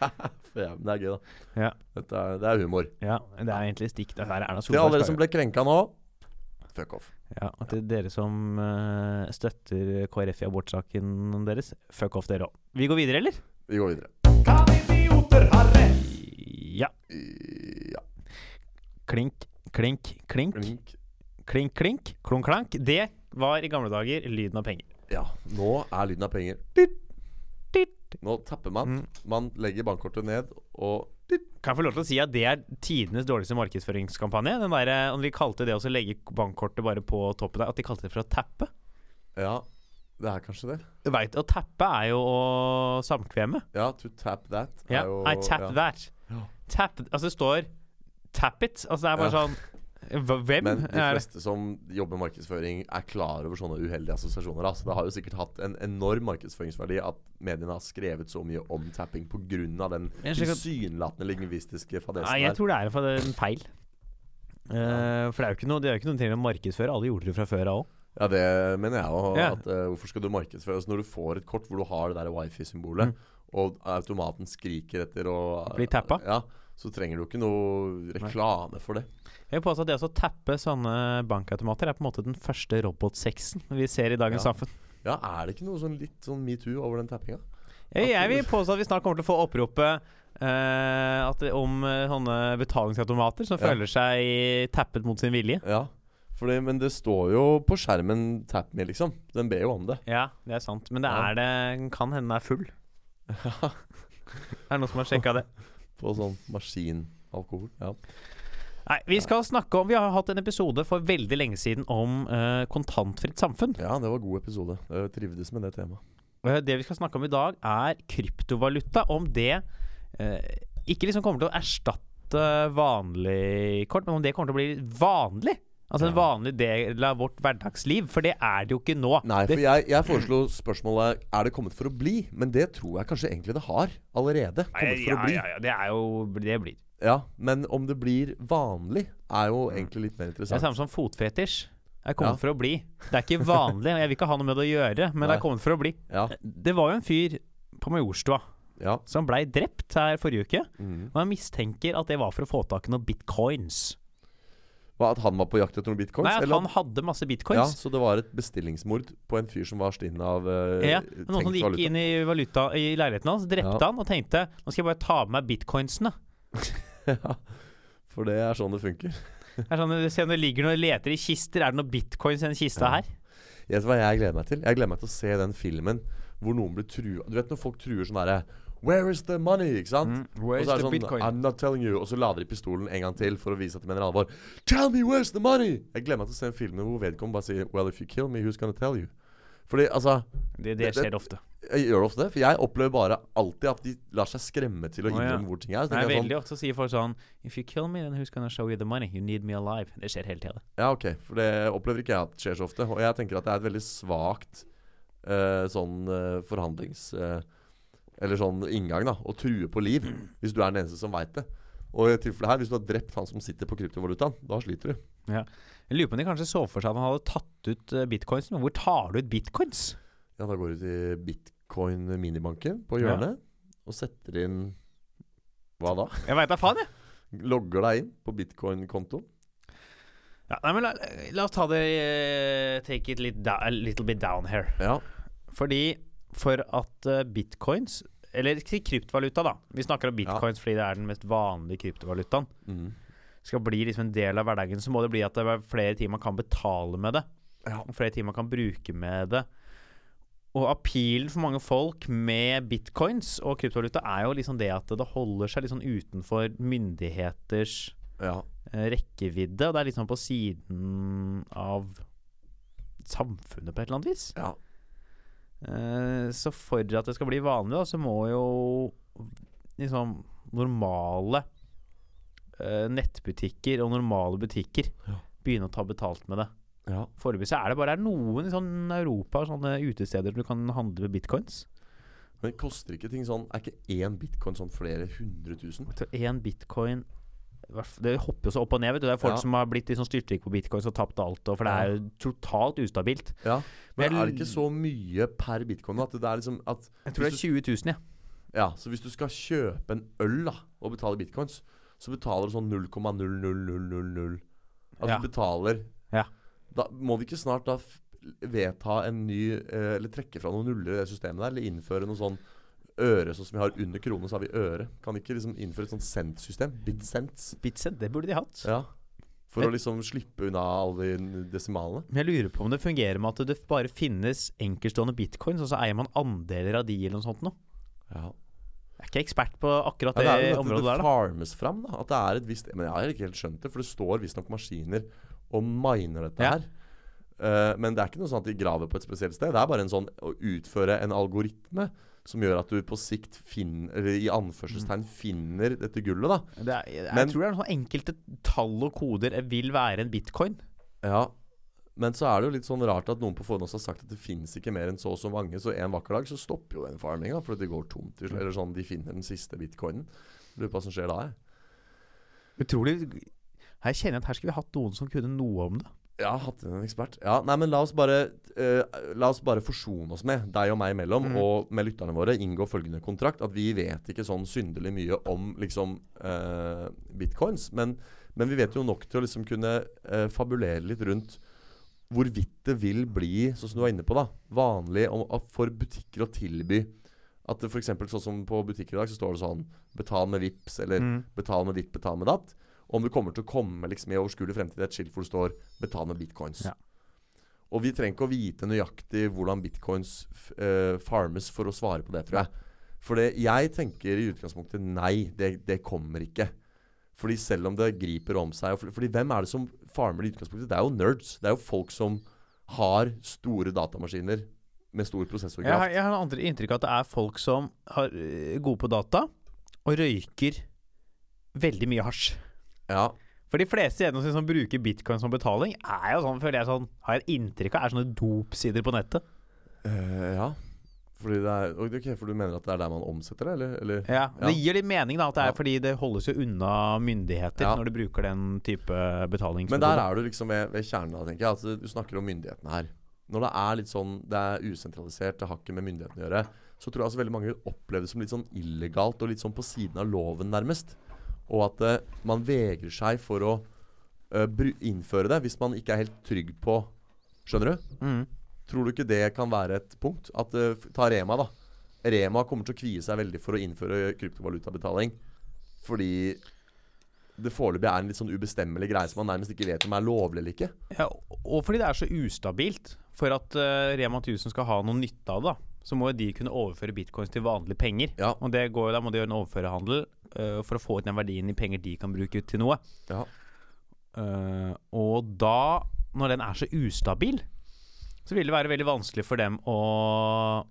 For ja, men det er gøy, da.
Ja.
Dette er, det er humor.
Ja, det er egentlig stikk. Det her er Erna
Til alle dere
Solberg.
som ble krenka nå, fuck off.
Ja, til dere som eh, støtter KrF i abortsaken deres, fuck off dere òg. Vi går videre, eller?
Vi går videre.
Ja.
Ja.
Klink, klink, klink.
Klink.
Klink, klink. Klunk, klank. Det var i gamle dager lyden av penger.
Ja. Nå er lyden av penger.
Titt.
Nå tapper man.
Mm.
Man legger bankkortet ned, og
Kan jeg få lov til å si at det er tidenes dårligste markedsføringskampanje? Den der, eh, Om de kalte det å så legge bankkortet bare på toppen der, at de kalte det for å tappe?
Ja, det er kanskje det.
Du vet, å tappe er jo å samkvemme.
Ja, to tap that er
Ja,
jo
I tap
ja.
that.
Ja.
Tap, altså det står tap it. Altså det er bare
Ja.
sånn hva- Hvem
Men de
er det?
fleste som jobber med markedsføring, er klar over sånne uheldige assosiasjoner. Altså, det har jo sikkert hatt en enorm markedsføringsverdi at mediene har skrevet så mye om tapping pga. den
Jeg skjønner ikke-
tilsynelatende lingvistiske fadesen
Nei, jeg
her.
tror det er en fa- en feil. Eh, for det er jo ikke noe, det er jo ikke noe til å markedsføre. Alle gjorde det fra før av òg.
Ja, det mener jeg òg.
Ja.
hvorfor skal du markedsføre Altså, når du får et kort hvor du har det der wifi-symbolet, og automaten skriker etter å
Mm. Bli tappa?
Ja, så trenger du ikke noe reklame for det.
Jeg vil påstå at det å tappe sånne bankautomater er på en måte den første robotsexen vi ser i dagens
Ja.
samfunn.
Ja, er det ikke noe sånn litt sånn metoo over den tappinga?
Jeg, jeg vil påstå at vi snart kommer til å få oppropet eh, at det, om eh, sånne betalingsautomater som
Ja.
føler seg tappet mot sin vilje.
Ja, for det, men det står jo på skjermen 'tap me', liksom. Den ber jo om det.
Ja, det er sant. Men det
Ja.
er det kan hende den er full. er det noen som har sjekka det?
På sånn maskinalkohol. Ja.
Nei, vi skal snakke om Vi har hatt en episode for veldig lenge siden om eh, kontantfritt samfunn.
ja, det var god episode. Jeg trivdes med det temaet.
Eh, det vi skal snakke om i dag, er kryptovaluta. Om det eh, ikke liksom kommer til å erstatte vanlig kort, men om det kommer til å bli vanlig. Altså en vanlig del av vårt hverdagsliv, for det er det jo ikke nå.
Nei, for
det,
jeg, jeg foreslo spørsmålet Er det kommet for å bli. Men det tror jeg kanskje egentlig det har allerede. Kommet for
ja,
å bli.
ja, ja, det er jo Det blir.
Ja, Men om det blir vanlig, er jo egentlig litt mer
Det er det
interessant.
samme som fotfetisj. Jeg er kommet
Ja.
for å bli. Det er ikke vanlig, og jeg vil ikke ha noe med det å gjøre, men det
Nei.
er kommet for å bli.
Ja,
Det var jo en fyr på Majorstua
ja.
som blei drept her forrige uke,
Mm.
og jeg mistenker at det var for å få tak i noen bitcoins.
Hva, At han var på jakt etter noen bitcoins?
Nei, at
eller
han hadde masse
ja,
bitcoins.
Så det var et bestillingsmord på en fyr som var stinn av eh,
Ja, men
tenkt
noen som gikk
valuta?
inn i, valuta, i leiligheten hans, drepte
Ja.
han og tenkte Nå skal jeg bare ta med meg bitcoinsene.
ja, for det er sånn det funker.
Det er sånn, Se om det ligger noen leter i kister. Er det noen bitcoins i den kista
Ja.
her?
Vet du hva jeg gleder meg til? Jeg gleder meg til å se den filmen hvor noen blir trua Du vet når folk truer sånn derre Where is the money? Ikke sant?
Mm.
Og så er det sånn I'm not telling you. Og så lader de pistolen en gang til for å vise at de mener alvor. Tell me where's the money? Jeg gleder meg til å se en film hvor vedkommende bare sier Well, if you kill me, who's gonna tell you? Fordi altså
Det, det
det- det-
skjer ofte.
Jeg gjør ofte det, for jeg opplever bare alltid at de lar seg skremme til å
Å, ja.
innrømme hvor ting er. Så
Nei,
tenker jeg sånn
veldig ofte sier folk sånn If you kill me, then who's gonna show you the money? You need me alive. Det skjer hele tida.
Ja, ok. For det opplever ikke jeg at skjer så ofte. Og jeg tenker at det er et veldig svakt eh, sånn eh, forhandlings... eh, eller sånn inngang, da. Å true på liv. Hvis du er den eneste som veit det. Og i tilfellet her, hvis du har drept han som sitter på kryptovalutaen, da sliter du.
Jeg lurer på om de kanskje så for seg at han hadde tatt ut eh, bitcoins, men hvor tar du ut bitcoins?
Ja, da går du til bitcoin-minibanken på hjørnet og setter inn Hva da?
Jeg veit da faen, jeg.
Logger deg inn på bitcoin-konto.
Ja, nei, men la, la oss ta det eh, Take it litt da, a little bit down here.
Ja.
Fordi for at eh, bitcoins Eller kry- kryptovaluta, da. Vi snakker om bitcoins fordi det er den mest vanlige kryptovalutaen.
Mm.
Skal bli liksom en del av hverdagen, så må det bli at det er flere timer man kan betale med det.
Ja.
Og flere timer man kan bruke med det. Og appealen for mange folk med bitcoins og kryptovaluta er jo liksom det at det holder seg litt sånn utenfor myndigheters
ja.
eh, rekkevidde. Og det er liksom på siden av samfunnet på et eller annet vis.
Ja.
Eh, Så for at det skal bli vanlig, da, så må jo liksom normale eh, nettbutikker og normale butikker
Ja.
begynne å ta betalt med det.
Ja.
Foreløpig så er det bare er det noen i sånn Europa sånne utesteder du kan handle med bitcoins.
Men koster ikke ting sånn Er ikke én bitcoin sånn flere hundre tusen?
Jeg tror Én bitcoin i hvert fall- Det hopper jo så opp og ned. vet du Det er folk
Ja.
som har blitt liksom styrtrike på bitcoins og tapt alt, og for det er jo totalt ustabilt.
Ja. Men
Vel-
er det ikke så mye per bitcoin? At det er liksom at
Jeg tror det
Hvis
er 20 000, jeg.
Ja, så hvis du skal kjøpe en øl da og betale bitcoins, så betaler du sånn 0,00000. Altså
Ja.
du betaler
Ja.
Da må vi ikke snart da f- vedta en ny eh, Eller trekke fra noen nuller i det systemet der, eller innføre noe sånn øre, sånn som vi har under krone, så har vi øre. Kan ikke liksom innføre et sånt cent-system? Bit-cents.
Bitcent, det burde de hatt.
Ja. For
Men-
å liksom slippe unna alle de desimalene.
Men jeg lurer på om det fungerer med at det bare finnes enkeltstående bitcoins, og så eier man andeler av de eller noe sånt noe.
Ja.
Jeg er ikke ekspert på akkurat
Ja,
det,
det er jo dette
området
det
der, da.
farmes fram, da. At det er et visst Men jeg har ikke helt skjønt det, for det står visstnok maskiner og miner dette
Ja.
her. Eh, men det er ikke noe sånn at de graver på et spesielt sted. Det er bare en sånn å utføre en algoritme som gjør at du på sikt finner Eller i
Mm.
anførselstegn finner dette gullet, da.
Det er, jeg
Men-
tror det er noen enkelte tall og koder eh, vil være en bitcoin.
Ja. Men så er det jo litt sånn rart at noen på forhånd også har sagt at det fins ikke mer enn så og så mange, så en vakker dag så stopper jo den farminga, for det går tomt til
Mm.
slutt. Eller sånn de finner den siste bitcoinen. Lurer på hva som skjer da, jeg.
Utrolig Her kjenner jeg at her skulle vi hatt noen som kunne noe om det.
Ja, hatt inn en ekspert. Ja, nei, men la oss bare eh, La oss bare forsone oss med, deg og meg imellom, og med lytterne våre, inngå følgende kontrakt. At vi vet ikke sånn synderlig mye om liksom eh, bitcoins, men, men vi vet jo nok til å liksom kunne eh, fabulere litt rundt hvorvidt det vil bli, sånn som du var inne på, da, vanlig om, at for butikker å tilby at det for eksempel, sånn som på butikker i dag, så står det sånn Betal med VIPs, eller betal med ditt, betal med datt. Om det kommer til å komme liksom, i overskuelig fremtid et skilt hvor det står 'betal med bitcoins'.
Ja.
Og vi trenger ikke å vite nøyaktig hvordan bitcoins f- eh, farmes for å svare på det, tror jeg. For det, jeg tenker i utgangspunktet nei, det, det kommer ikke. Fordi selv om det griper om seg og fordi, fordi hvem er det som farmer det i utgangspunktet? Det er jo nerds. Det er jo folk som har store datamaskiner med stor
Jeg har,
prosessorkraft.
jeg har en andre inntrykk av at det er folk som har eh, gode på data, og røyker veldig mye hasj.
Ja,
For de fleste gjennomsnitt som bruker bitcoin som betaling, er jo sånn, føler jeg sånn, har jeg inntrykk av, er sånne dopsider på nettet.
Eh, ja. Fordi det er, ok, ok, for du mener at det er der man omsetter det, eller? eller?
Ja, og Det gir litt mening, da, at det er
Ja.
fordi det holdes jo unna myndigheter
Ja.
når du bruker den type
Men der
betalingsmetode.
er du liksom ved, ved kjernen, da, tenker jeg. Altså, du snakker om myndighetene her. Når det er litt sånn, det er usentralisert, det har ikke med myndighetene å gjøre, så tror jeg altså veldig mange vil oppleve det som litt sånn illegalt og litt sånn på siden av loven, nærmest. Og at eh, man vegrer seg for å eh, bru- innføre det hvis man ikke er helt trygg på Skjønner du?
Mm.
Tror du ikke det kan være et punkt? At eh, f- Ta Rema, da. Rema kommer til å kvie seg veldig for å innføre kryptovalutabetaling. Fordi det foreløpig er en litt sånn ubestemmelig greie som man nærmest ikke vet om er lovlig eller ikke.
Ja, og fordi det er så ustabilt. For at eh, Rema 1000 skal ha noe nytte av det, da, så må jo de kunne overføre bitcoins til vanlige penger.
Ja.
Og det går, jo- Da må de gjøre en overførerhandel eh, for å få ut den verdien i penger de kan bruke til noe.
Ja.
Eh, og da, når den er så ustabil, så vil det være veldig vanskelig for dem å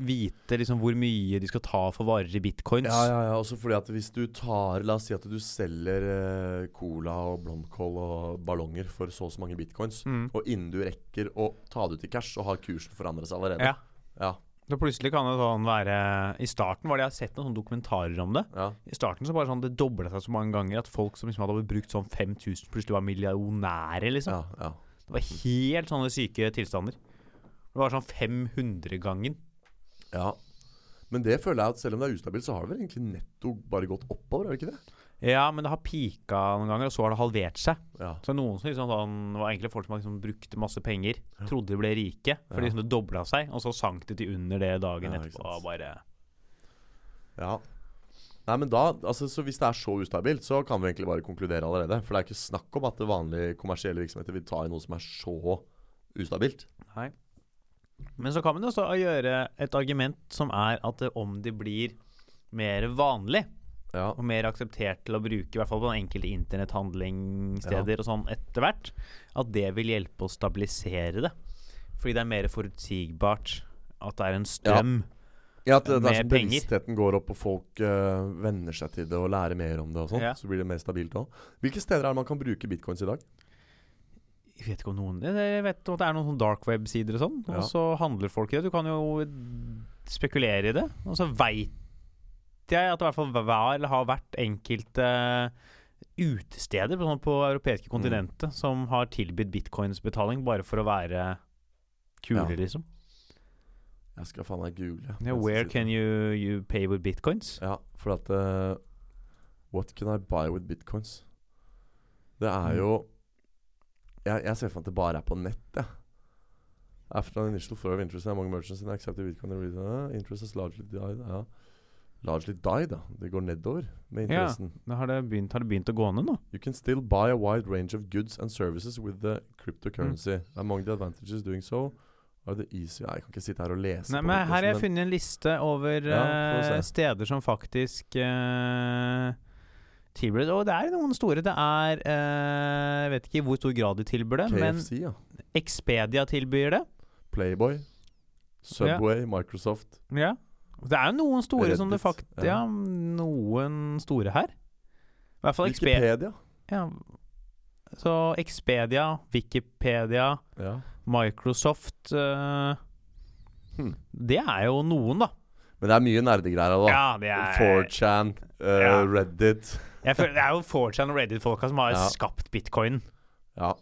vite liksom hvor mye de skal ta for varer i bitcoins.
Ja, ja, ja. Også fordi at hvis du tar La oss si at du selger eh, cola og blomkål og ballonger for så og så mange bitcoins,
Mm.
og innen du rekker å ta det ut i cash, så har kursen forandret seg allerede.
Ja.
Ja.
Så plutselig kan det sånn være I starten var det jeg har sett noen sånne dokumentarer om det.
ja.
I starten så bare sånn Det dobla seg så mange ganger at folk som liksom hadde brukt sånn 5000, plutselig var millionærer, liksom.
ja, ja.
Det var helt sånne syke tilstander. Det var sånn 500-gangen.
Ja. Men det føler jeg at selv om det er ustabilt, så har det vel egentlig netto bare gått oppover, er det ikke det?
Ja, men det har pika noen ganger, og så har det halvert seg.
Ja.
Så noen som liksom sånn, var egentlig folk som liksom brukte masse penger, trodde de ble rike, for
Ja.
liksom det dobla seg, og så sank det til under det dagen
Ja, ikke
etterpå.
sant.
og Bare
ja. Nei, men da, altså, så Hvis det er så ustabilt, så kan vi egentlig bare konkludere allerede. For det er ikke snakk om at vanlige kommersielle virksomheter vil ta i noe som er så ustabilt.
Nei. Men så kan man jo også gjøre et argument som er at eh, om det blir mer vanlig,
Ja.
og mer akseptert til å bruke, i hvert fall på enkelte internetthandlingssteder og sånn etter hvert, at det vil hjelpe å stabilisere det. Fordi det er mer forutsigbart at det er en strøm.
Ja, at det, det
Med
er sånn
penger.
bevisstheten går opp, og folk øh, venner seg til det og lærer mer om det. og sånn
Ja.
Så blir det mer stabilt òg. Hvilke steder er det man kan bruke bitcoins i dag?
Jeg vet ikke om noen Jeg vet om at det er noen sånn dark web-sider og sånn,
Ja.
og så handler folk i det. Du kan jo spekulere i det, og så veit jeg at det i hvert fall var eller har vært enkelte utesteder på, på europeiske
Mm.
kontinentet som har tilbudt bitcoinsbetaling bare for å være kule,
Ja.
liksom.
Jeg skal faen meg google.
Ja, where can you, you pay with bitcoins?
Ja, for at øh, What can I buy with bitcoins? Det
Mm.
er jo jeg, jeg ser for meg at det bare er på nett, jeg. After an initial flow of interest and among merchants in accepted bitcoin and reason, uh, interest has largely died. Ja. Largely died, da. Det går nedover med
Ja.
interessen.
Da har det begynt, har det begynt å gå ned nå.
You can still buy a wide range of goods and services with the
Mm.
cryptocurrency. Among the advantages doing so are the easy Jeg kan ikke sitte her og lese.
Nei,
på
men her
podcasten,
har jeg funnet en liste over
Ja, få se.
eh, steder som faktisk eh, tilbyr det. Og det er noen store. Det er eh, Jeg vet ikke i hvor stor grad de tilbyr det,
KFC, ja.
men Expedia tilbyr det.
Playboy. Subway, Microsoft.
Ja. Det er jo noen store som det
Reddit,
faktisk ja.
ja.
noen store her. I hvert fall Expedia.
Wikipedia.
Ja. Så Expedia, Wikipedia,
Ja.
Microsoft eh,
Hmm.
Det er jo noen, da.
Men det er mye nerdegreier her, da.
Ja, det er
4chan, eh,
Ja.
Reddit.
Jeg føler, det er jo 4chan og Reddit-folka som har
Ja.
skapt bitcoin.
Ja.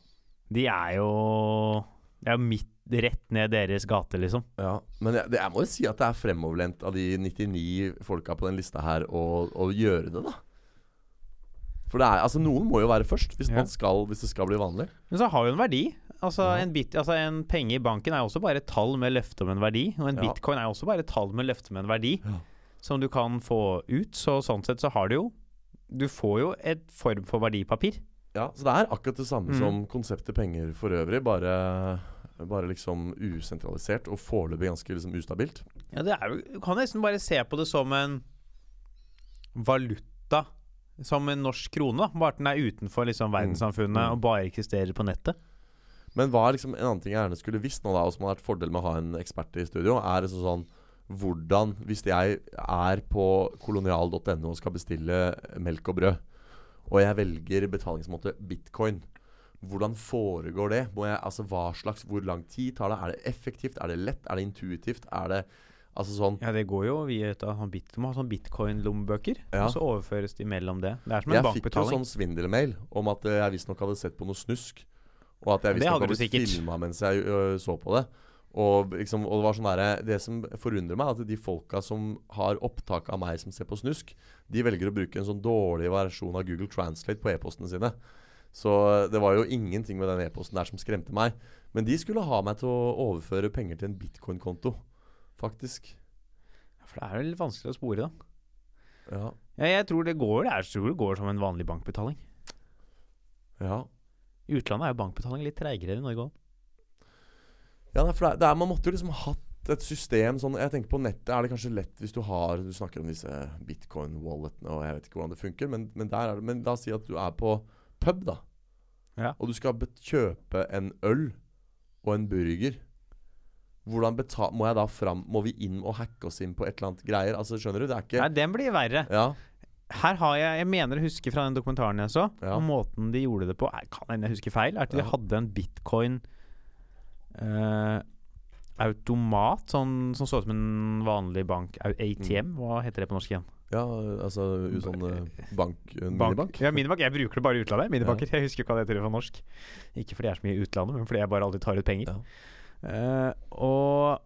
De er jo Det er jo midt, rett ned deres gate, liksom.
ja. Men jeg, det, jeg må jo si at det er fremoverlent av de 99 folka på den lista her å å gjøre det, da. For det er, altså noen må jo være først, hvis,
Ja.
man skal, hvis det skal bli vanlig.
Men så har jo en verdi. Altså,
Ja.
en bit, altså en penge i banken er jo også bare et tall med løfte om en verdi. Og en
Ja.
bitcoin er jo også bare et tall med løfte om en verdi,
Ja.
som du kan få ut. Så sånn sett så har du jo Du får jo et form for verdipapir.
Ja, så det er akkurat det samme
Mm.
som konseptet penger for øvrig, bare, bare liksom usentralisert og foreløpig ganske liksom ustabilt.
Ja, det er jo Du kan nesten bare se på det som en valuta. Som en norsk krone, da. Bare at den er utenfor liksom, verdenssamfunnet
Mm.
og bare eksisterer på nettet.
Men hva er liksom en annen ting jeg gjerne skulle visst nå, da, og som har vært fordel med å ha en ekspert i studio, er liksom sånn hvordan, hvis jeg er på kolonial.no og skal bestille melk og brød, og jeg velger betalingsmåte bitcoin, hvordan foregår det? Må jeg, altså hva slags, Hvor lang tid tar det? Er det effektivt? Er det lett? Er det intuitivt? Er det Altså sånn
Ja, det går jo via et av sånn bit, Du må ha sånn bitcoin-lommebøker,
Ja.
og så overføres de mellom det. Det er som en
Jeg fikk jo
bankbetaling.
sånn svindelmail om at eh, jeg visstnok hadde sett på noe snusk. Og at jeg
Det
visstnok
hadde
hadde
du
blitt
sikkert.
filma mens jeg ø, så på det. Og, liksom, og det var sånn derre- Det som forundrer meg, er at de folka som har opptak av meg som ser på snusk, de velger å bruke en sånn dårlig versjon av Google Translate på e-postene sine. Så øh, det var jo ingenting med den e-posten der som skremte meg. Men de skulle ha meg til å overføre penger til en bitcoin-konto, faktisk.
For det er jo litt vanskelig å spore, da.
Ja.
Ja, jeg tror det går Jeg tror det går som en vanlig bankbetaling.
ja.
I utlandet er jo bankbetaling litt treigere enn i Norge òg.
Ja, nei, for det, er- det er, Man måtte jo liksom hatt et system sånn Jeg tenker på nettet er det kanskje lett hvis du har Du snakker om disse bitcoin-walletene, og jeg vet ikke hvordan det funker, men, men, der er det, men la oss si at du er på pub, da.
Ja.
Og du skal bet- kjøpe en øl og en burger. Hvordan beta Må jeg da fram Må vi inn og hacke oss inn på et eller annet greier? Altså, skjønner du? Det er ikke
Nei, den blir verre.
Ja.
Her har jeg Jeg mener å huske fra den dokumentaren jeg så,
Ja.
og måten de gjorde det på Jeg kan hende jeg husker feil. Er at de
Ja.
hadde en bitcoin eh, Automat sånn, som så ut som en vanlig bank. Au- ATM,
Mm.
hva heter det på norsk igjen?
ja altså u- sånn eh, bank, en
Bank.
minibank?
Ja, minibank. Jeg bruker det bare i utlandet. Minibanker. Jeg husker ikke hva det heter på norsk. Ikke fordi jeg er så mye i utlandet, men fordi jeg bare alltid tar ut penger.
Ja.
Eh, og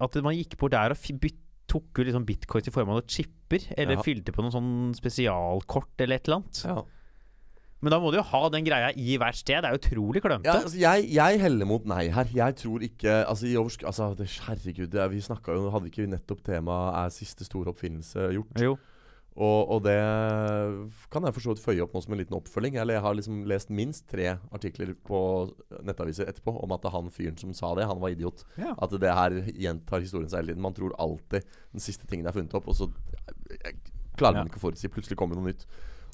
at man gikk bort der og fi- byt, tok ut liksom bitcoins i form av noen chipper, eller
Ja.
fylte på noen sånn spesialkort eller et eller annet.
Ja.
Men da må du jo ha den greia i hvert sted. Det er jo utrolig klønete.
Ja, altså jeg, jeg heller mot nei her. Jeg tror ikke Altså, i oversk altså det, herregud, det, er- vi snakka jo Hadde ikke vi nettopp temaet 'Er siste store oppfinnelse gjort'?
Jo.
Og, og det kan jeg for så vidt føye opp nå som en liten oppfølging. Eller jeg har liksom lest minst tre artikler på nettaviser etterpå om at han fyren som sa det, han var idiot.
Ja.
At det her gjentar historien seg hele tiden. Man tror alltid den siste tingen er funnet opp, og så klarer man
Ja.
ikke å forutsi. Plutselig kommer noe nytt.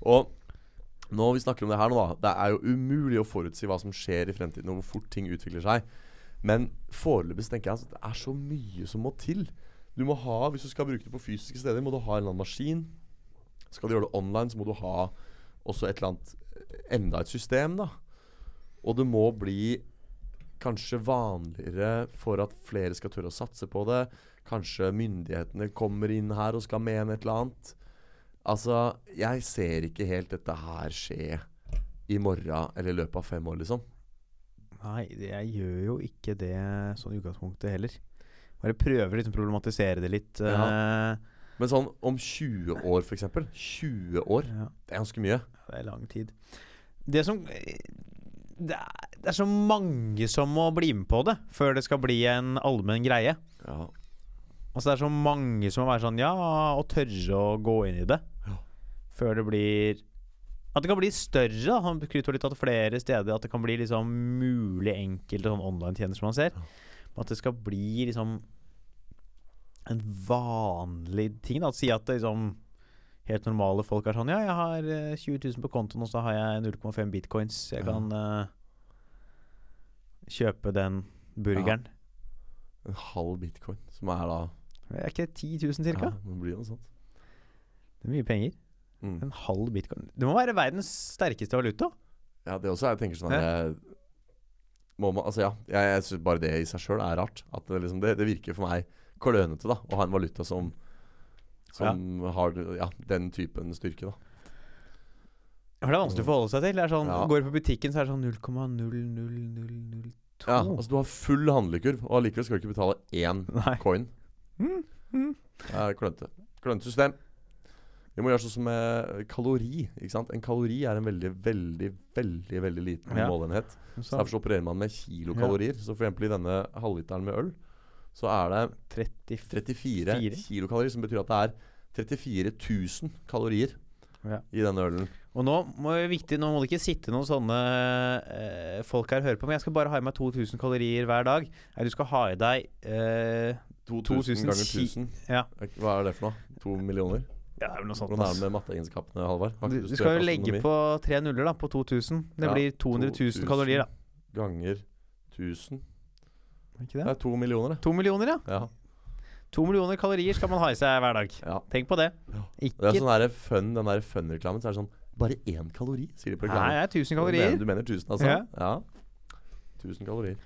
Og når vi snakker om det her nå, da. Det er jo umulig å forutsi hva som skjer i fremtiden, og hvor fort ting utvikler seg. Men foreløpig så tenker jeg at det er så mye som må til. Du må ha, Hvis du skal bruke det på fysiske steder, må du ha en eller annen maskin. Skal du gjøre det online, så må du ha også et eller annet eh, enda et system, da. Og det må bli kanskje vanligere for at flere skal tørre å satse på det. Kanskje myndighetene kommer inn her og skal mene et eller annet. Altså, jeg ser ikke helt dette her skje i morgen eller i løpet av fem år, liksom.
Nei, jeg gjør jo ikke det sånn i utgangspunktet heller. Bare prøver liksom å problematisere det litt.
Ja.
eh,
Men sånn om 20 år, f.eks. 20 år,
ja.
det er ganske mye.
Det er lang tid. Det som det er, det er så mange som må bli med på det før det skal bli en allmenn greie.
Ja.
Altså Det er så mange som må være sånn ja, og tørre å gå inn i det.
Ja.
Før det blir At det kan bli større. da. Han skryter litt av at flere steder At det kan bli liksom mulig enkelte sånn online-tjenester man ser.
Ja.
Men at det skal bli liksom en vanlig ting. da At Si at det liksom helt normale folk er sånn Ja, jeg har eh, 20 000 på kontoen, og så har jeg 0,5 bitcoins. Jeg
Ja.
kan eh, kjøpe den burgeren.
En halv bitcoin, som er da
Er ikke det 10 000
ja,
cirka?
det blir noe sånt.
Det er mye penger.
Mm.
En halv bitcoin Det må være verdens sterkeste valuta.
Ja, det også er, jeg tenker sånn jeg, må man, altså ja, jeg, jeg synes bare det i seg sjøl er rart. At det, liksom, det, det virker for meg klønete da, å ha en valuta som, som har ja, den typen styrke. da
For det er vanskelig å forholde seg til. Det er sånn,
Mm. Ja.
Går du på butikken, så er det sånn 0,00002.
ja, altså Du har full handlekurv, og allikevel skal du ikke betale én
Nei.
coin.
Mm, mm.
Det er klønete. Klønete system. Vi må gjøre sånn som med kalori. ikke sant? En kalori er en veldig, veldig, veldig veldig liten
Ja.
måleenhet. Så
Så
Derfor så opererer man med kilokalorier. Så for eksempel i denne halvliteren med øl, så er det
34
34
Fire.
kilokalorier, som betyr at det er 34 000 kalorier
Ja.
i denne ølen.
Og nå må det viktig Nå må det ikke sitte noen sånne eh, folk her og høre på, men jeg skal bare ha i meg 2000 kalorier hver dag. Nei, du skal ha i deg eh,
2000 ganger
1000.
1000.
Ja.
Hva er det for noe? To millioner?
Ja, det er vel noe sånt.
Hvordan er
ass.
det med matteegenskapene, Halvard? Har
Du,
ikke
du
studert
skal jo legge
astronomi?
på tre nuller da på 2000. Det
Ja,
blir 200 000 kalorier, da.
Ganger 1000
Er Ikke
Det
det?
er to millioner, det.
To millioner, ja.
Ja.
To millioner kalorier skal man ha i seg hver dag.
ja.
Tenk på det.
Ja. Det
Ikke
er sånn der fun, den der fun-reklamen. Så er det sånn Bare én kalori, sier de på
Nei,
reklamen.
det er 1000
Du
kalorier.
mener- Du mener 1000, altså?
Ja.
ja. 1000 kalorier.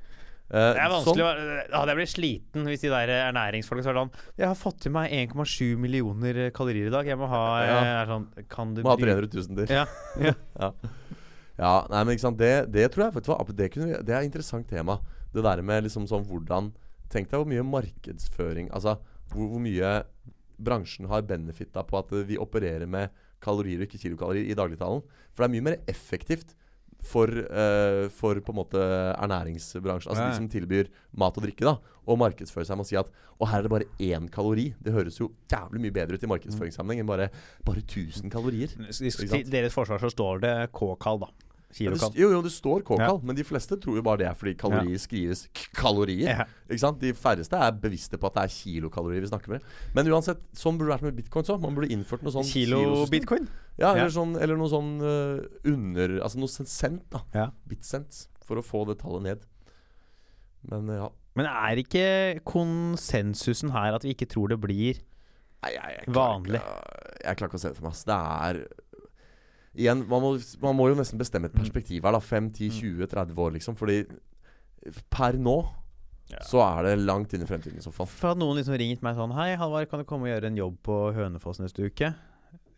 Eh,
Det er vanskelig å
Sånn.
Hadde jeg blitt sliten hvis de der ernæringsfolka sa sånn Jeg har fått i meg 1,7 millioner eh, kalorier i dag. Jeg må ha eh,
Ja.
er sånn, Kan du
Må ha
bry-
300 000 til.
Ja, ja.
ja. ja. Nei, men ikke sant. Det, det tror jeg faktisk var Det, kunne, vi- det er et interessant tema. Det der med liksom sånn hvordan Tenk deg hvor mye markedsføring Altså hvor, hvor mye bransjen har benefitta på at eh, vi opererer med kalorier og ikke kilokalorier i dagligtalen. For det er mye mer effektivt for, eh, for på en måte ernæringsbransjen, altså
Ja, ja.
de som tilbyr mat og drikke, da, å markedsføre seg med å si at å, her er det bare én kalori. Det høres jo jævlig mye bedre ut i markedsføringssammenheng enn bare, bare 1000 kalorier.
Mm. Til deres forsvar så står det K-kall, da.
Ja, det,
Kilokall.
st- jo, jo, det står K-kall, men de fleste tror jo bare det er fordi kalorier skrives k- kalorier.
Ja.
Ikke sant? De færreste er bevisste på at det er kilokalorier vi snakker med. Men uansett, sånn burde det vært med bitcoins òg. Man burde innført noe sånn
Kilo
kilosystem.
bitcoin?
Ja,
Ja.
eller, Sånn, eller noe sånn eh, under Altså noe sen- cent, da.
Ja.
Bitcent. For å få det tallet ned. Men eh, ja.
Men er ikke konsensusen her at vi ikke tror det blir
Nei, jeg, jeg
Vanlig.
Ikke, jeg klarer ikke å se det for meg. ass. Det er Igjen, man må, man må jo nesten bestemme
Mm.
et perspektiv her. da 5, 10, 20, 30 år, liksom. Fordi per nå
Ja.
så er det langt inn i fremtiden i så fall.
For at noen liksom ringt meg sånn Hei, Halvard, kan du komme og gjøre en jobb på Hønefoss neste uke?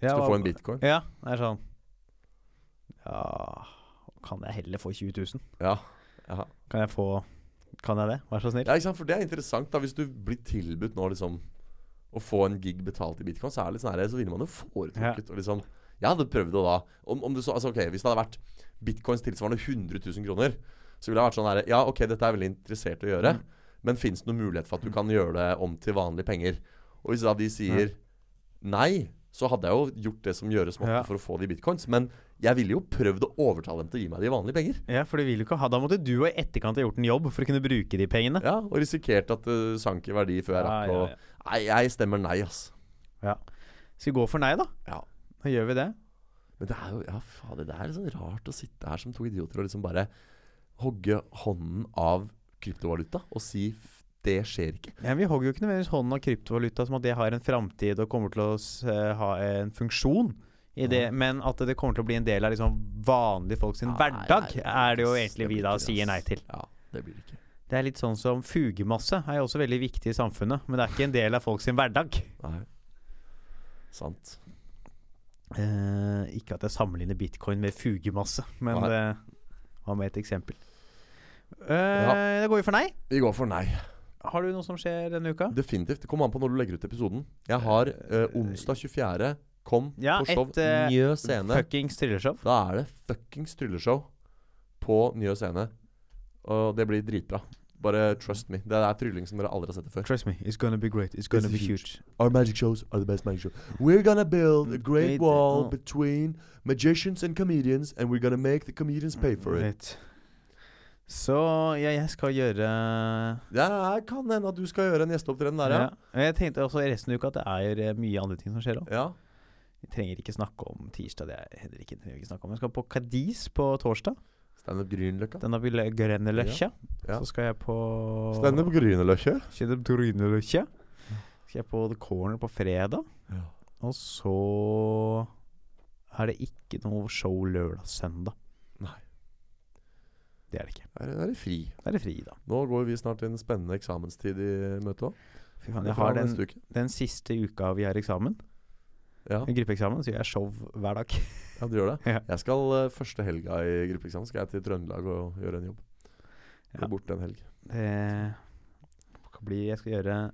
Jeg
Skal
var-
få en bitcoin.
Ja. Det er sånn Ja Kan jeg heller få 20 000?
Ja. ja.
Kan jeg få Kan jeg det? Vær så snill.
ja ikke sant? For det er interessant. da Hvis du blir tilbudt nå liksom å få en gig betalt i bitcoin, så er det litt sånn her, så ville man jo foretrukket å liksom Jeg hadde prøvd det da. Om, om det så, altså ok, Hvis det hadde vært bitcoins tilsvarende 100 000 kroner, så ville jeg vært sånn her Ja, ok, dette er jeg veldig interessert i å gjøre,
Mm.
men fins det noen mulighet for at du kan gjøre det om til vanlige penger? Og hvis da de sier nei, så hadde jeg jo gjort det som gjøres måtte
Ja.
for å få de bitcoins, men jeg ville jo prøvd å overtale dem til å gi meg de vanlige penger.
Ja, for du vil jo ikke ha Da måtte du og i etterkant ha gjort en jobb for å kunne bruke de pengene.
Ja, Og risikert at det sank i verdi før jeg
Ja,
rakk
ja,
å
ja.
Nei, jeg stemmer nei, ass.
Skal vi gå for nei, da?
Ja.
Da gjør vi det.
Men det er jo Ja, fader, det er litt sånn rart å sitte her som to idioter og liksom bare hogge hånden av kryptovaluta og si f- det skjer ikke.
Ja, vi hogger jo ikke nødvendigvis hånden av kryptovaluta som at det har en framtid og kommer til å s- eh, ha en funksjon. I det, men at det kommer til å bli en del av liksom vanlige folk sin
Mm. Nei,
hverdag,
nei,
er det jo
ass,
egentlig
blir
vi da
ikke det,
sier nei
ass.
til.
Ja, det blir det ikke.
Det er litt sånn som fugemasse er jo også veldig viktig i samfunnet, men det er ikke en del av folk sin hverdag.
Nei. Sant.
Eh, ikke at jeg sammenligner bitcoin med fugemasse, men
Nei.
det var med et eksempel. Eh,
Ja.
Det går jo for nei.
Vi går for nei.
Har du noe som skjer denne uka?
Definitivt. Det kommer an på når du legger ut episoden. Jeg har eh, onsdag 24. Kom
Ja,
på show.
et, eh,
Njø scene.
Fuckings thrillershow.
Da er det fuckings trylleshow på Njø scene. Og det blir dritbra. Bare trust me. Det er trylling som dere aldri har sett det før.
Trust me, it's gonna be great. It's
gonna be huge. Our magic shows are the best magic show. We're gonna build a
Great,
great wall
oh.
between magicians and comedians, and we're gonna make the comedians pay for it.
Right. Så ja, jeg skal gjøre
Det er- kan hende at du skal gjøre en gjesteopptreden der,
ja.
ja.
Men Jeg tenkte også i resten av uka at det er eh, mye andre ting som skjer òg.
ja.
Vi trenger ikke snakke om tirsdag. Det er heller ikke, trenger vi ikke snakke om Jeg skal på Cadiz på torsdag.
Standup Grünerløkka.
Den har vi le- Grønneløkja.
Ja.
Så skal jeg på
Standup Grünerløkka.
Kjeder Grønneløkja. Skal jeg på The Corner på fredag.
Ja.
Og så er det ikke noe show lørdag-søndag.
Nei.
Det er det ikke.
Er, er det fri?
Da er det fri, da.
Nå går vi snart til en spennende eksamenstid i møtet òg.
Fy faen, jeg har den,
neste uke.
den siste uka vi har eksamen.
Ja.
I gruppeeksamen så gjør jeg show hver dag.
ja, du gjør det.
Ja.
Jeg skal eh, Første helga i gruppeeksamen skal jeg til Trøndelag og gjøre en jobb. Blir
Ja.
borte en helg.
Det kan bli Jeg skal gjøre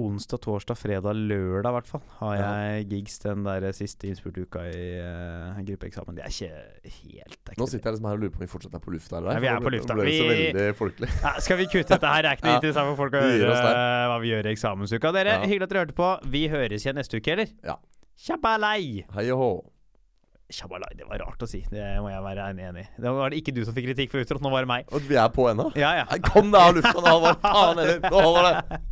onsdag, torsdag, fredag, lørdag i hvert fall. Har
Ja.
jeg gigs den der siste innspurte uka i eh, gruppeeksamen. Det er ikke helt det er
Nå
ikke-
sitter jeg liksom her og lurer på om vi fortsatt er på lufta eller
Nei, vi er på lufta.
Det ble så
Vi-
veldig folkelig.
ja, Skal vi kutte dette her? Det er ikke noe
Ja.
interessant for folk å
Vi gir
høre
oss
eh, hva vi gjør i eksamensuka. Dere,
Ja.
hyggelig at dere hørte på. Vi høres igjen neste uke, eller?
Ja.
Tjabbalei!
Hei og hå.
Tjabbalei, det var rart å si. Det må jeg være enig i. Det var det ikke du som fikk kritikk for utrådt, nå var det meg.
Og vi er på ennå?
Ja, ja.
Nei, Kom deg av lufta, da, Halvard! Faen heller! Nå holder det!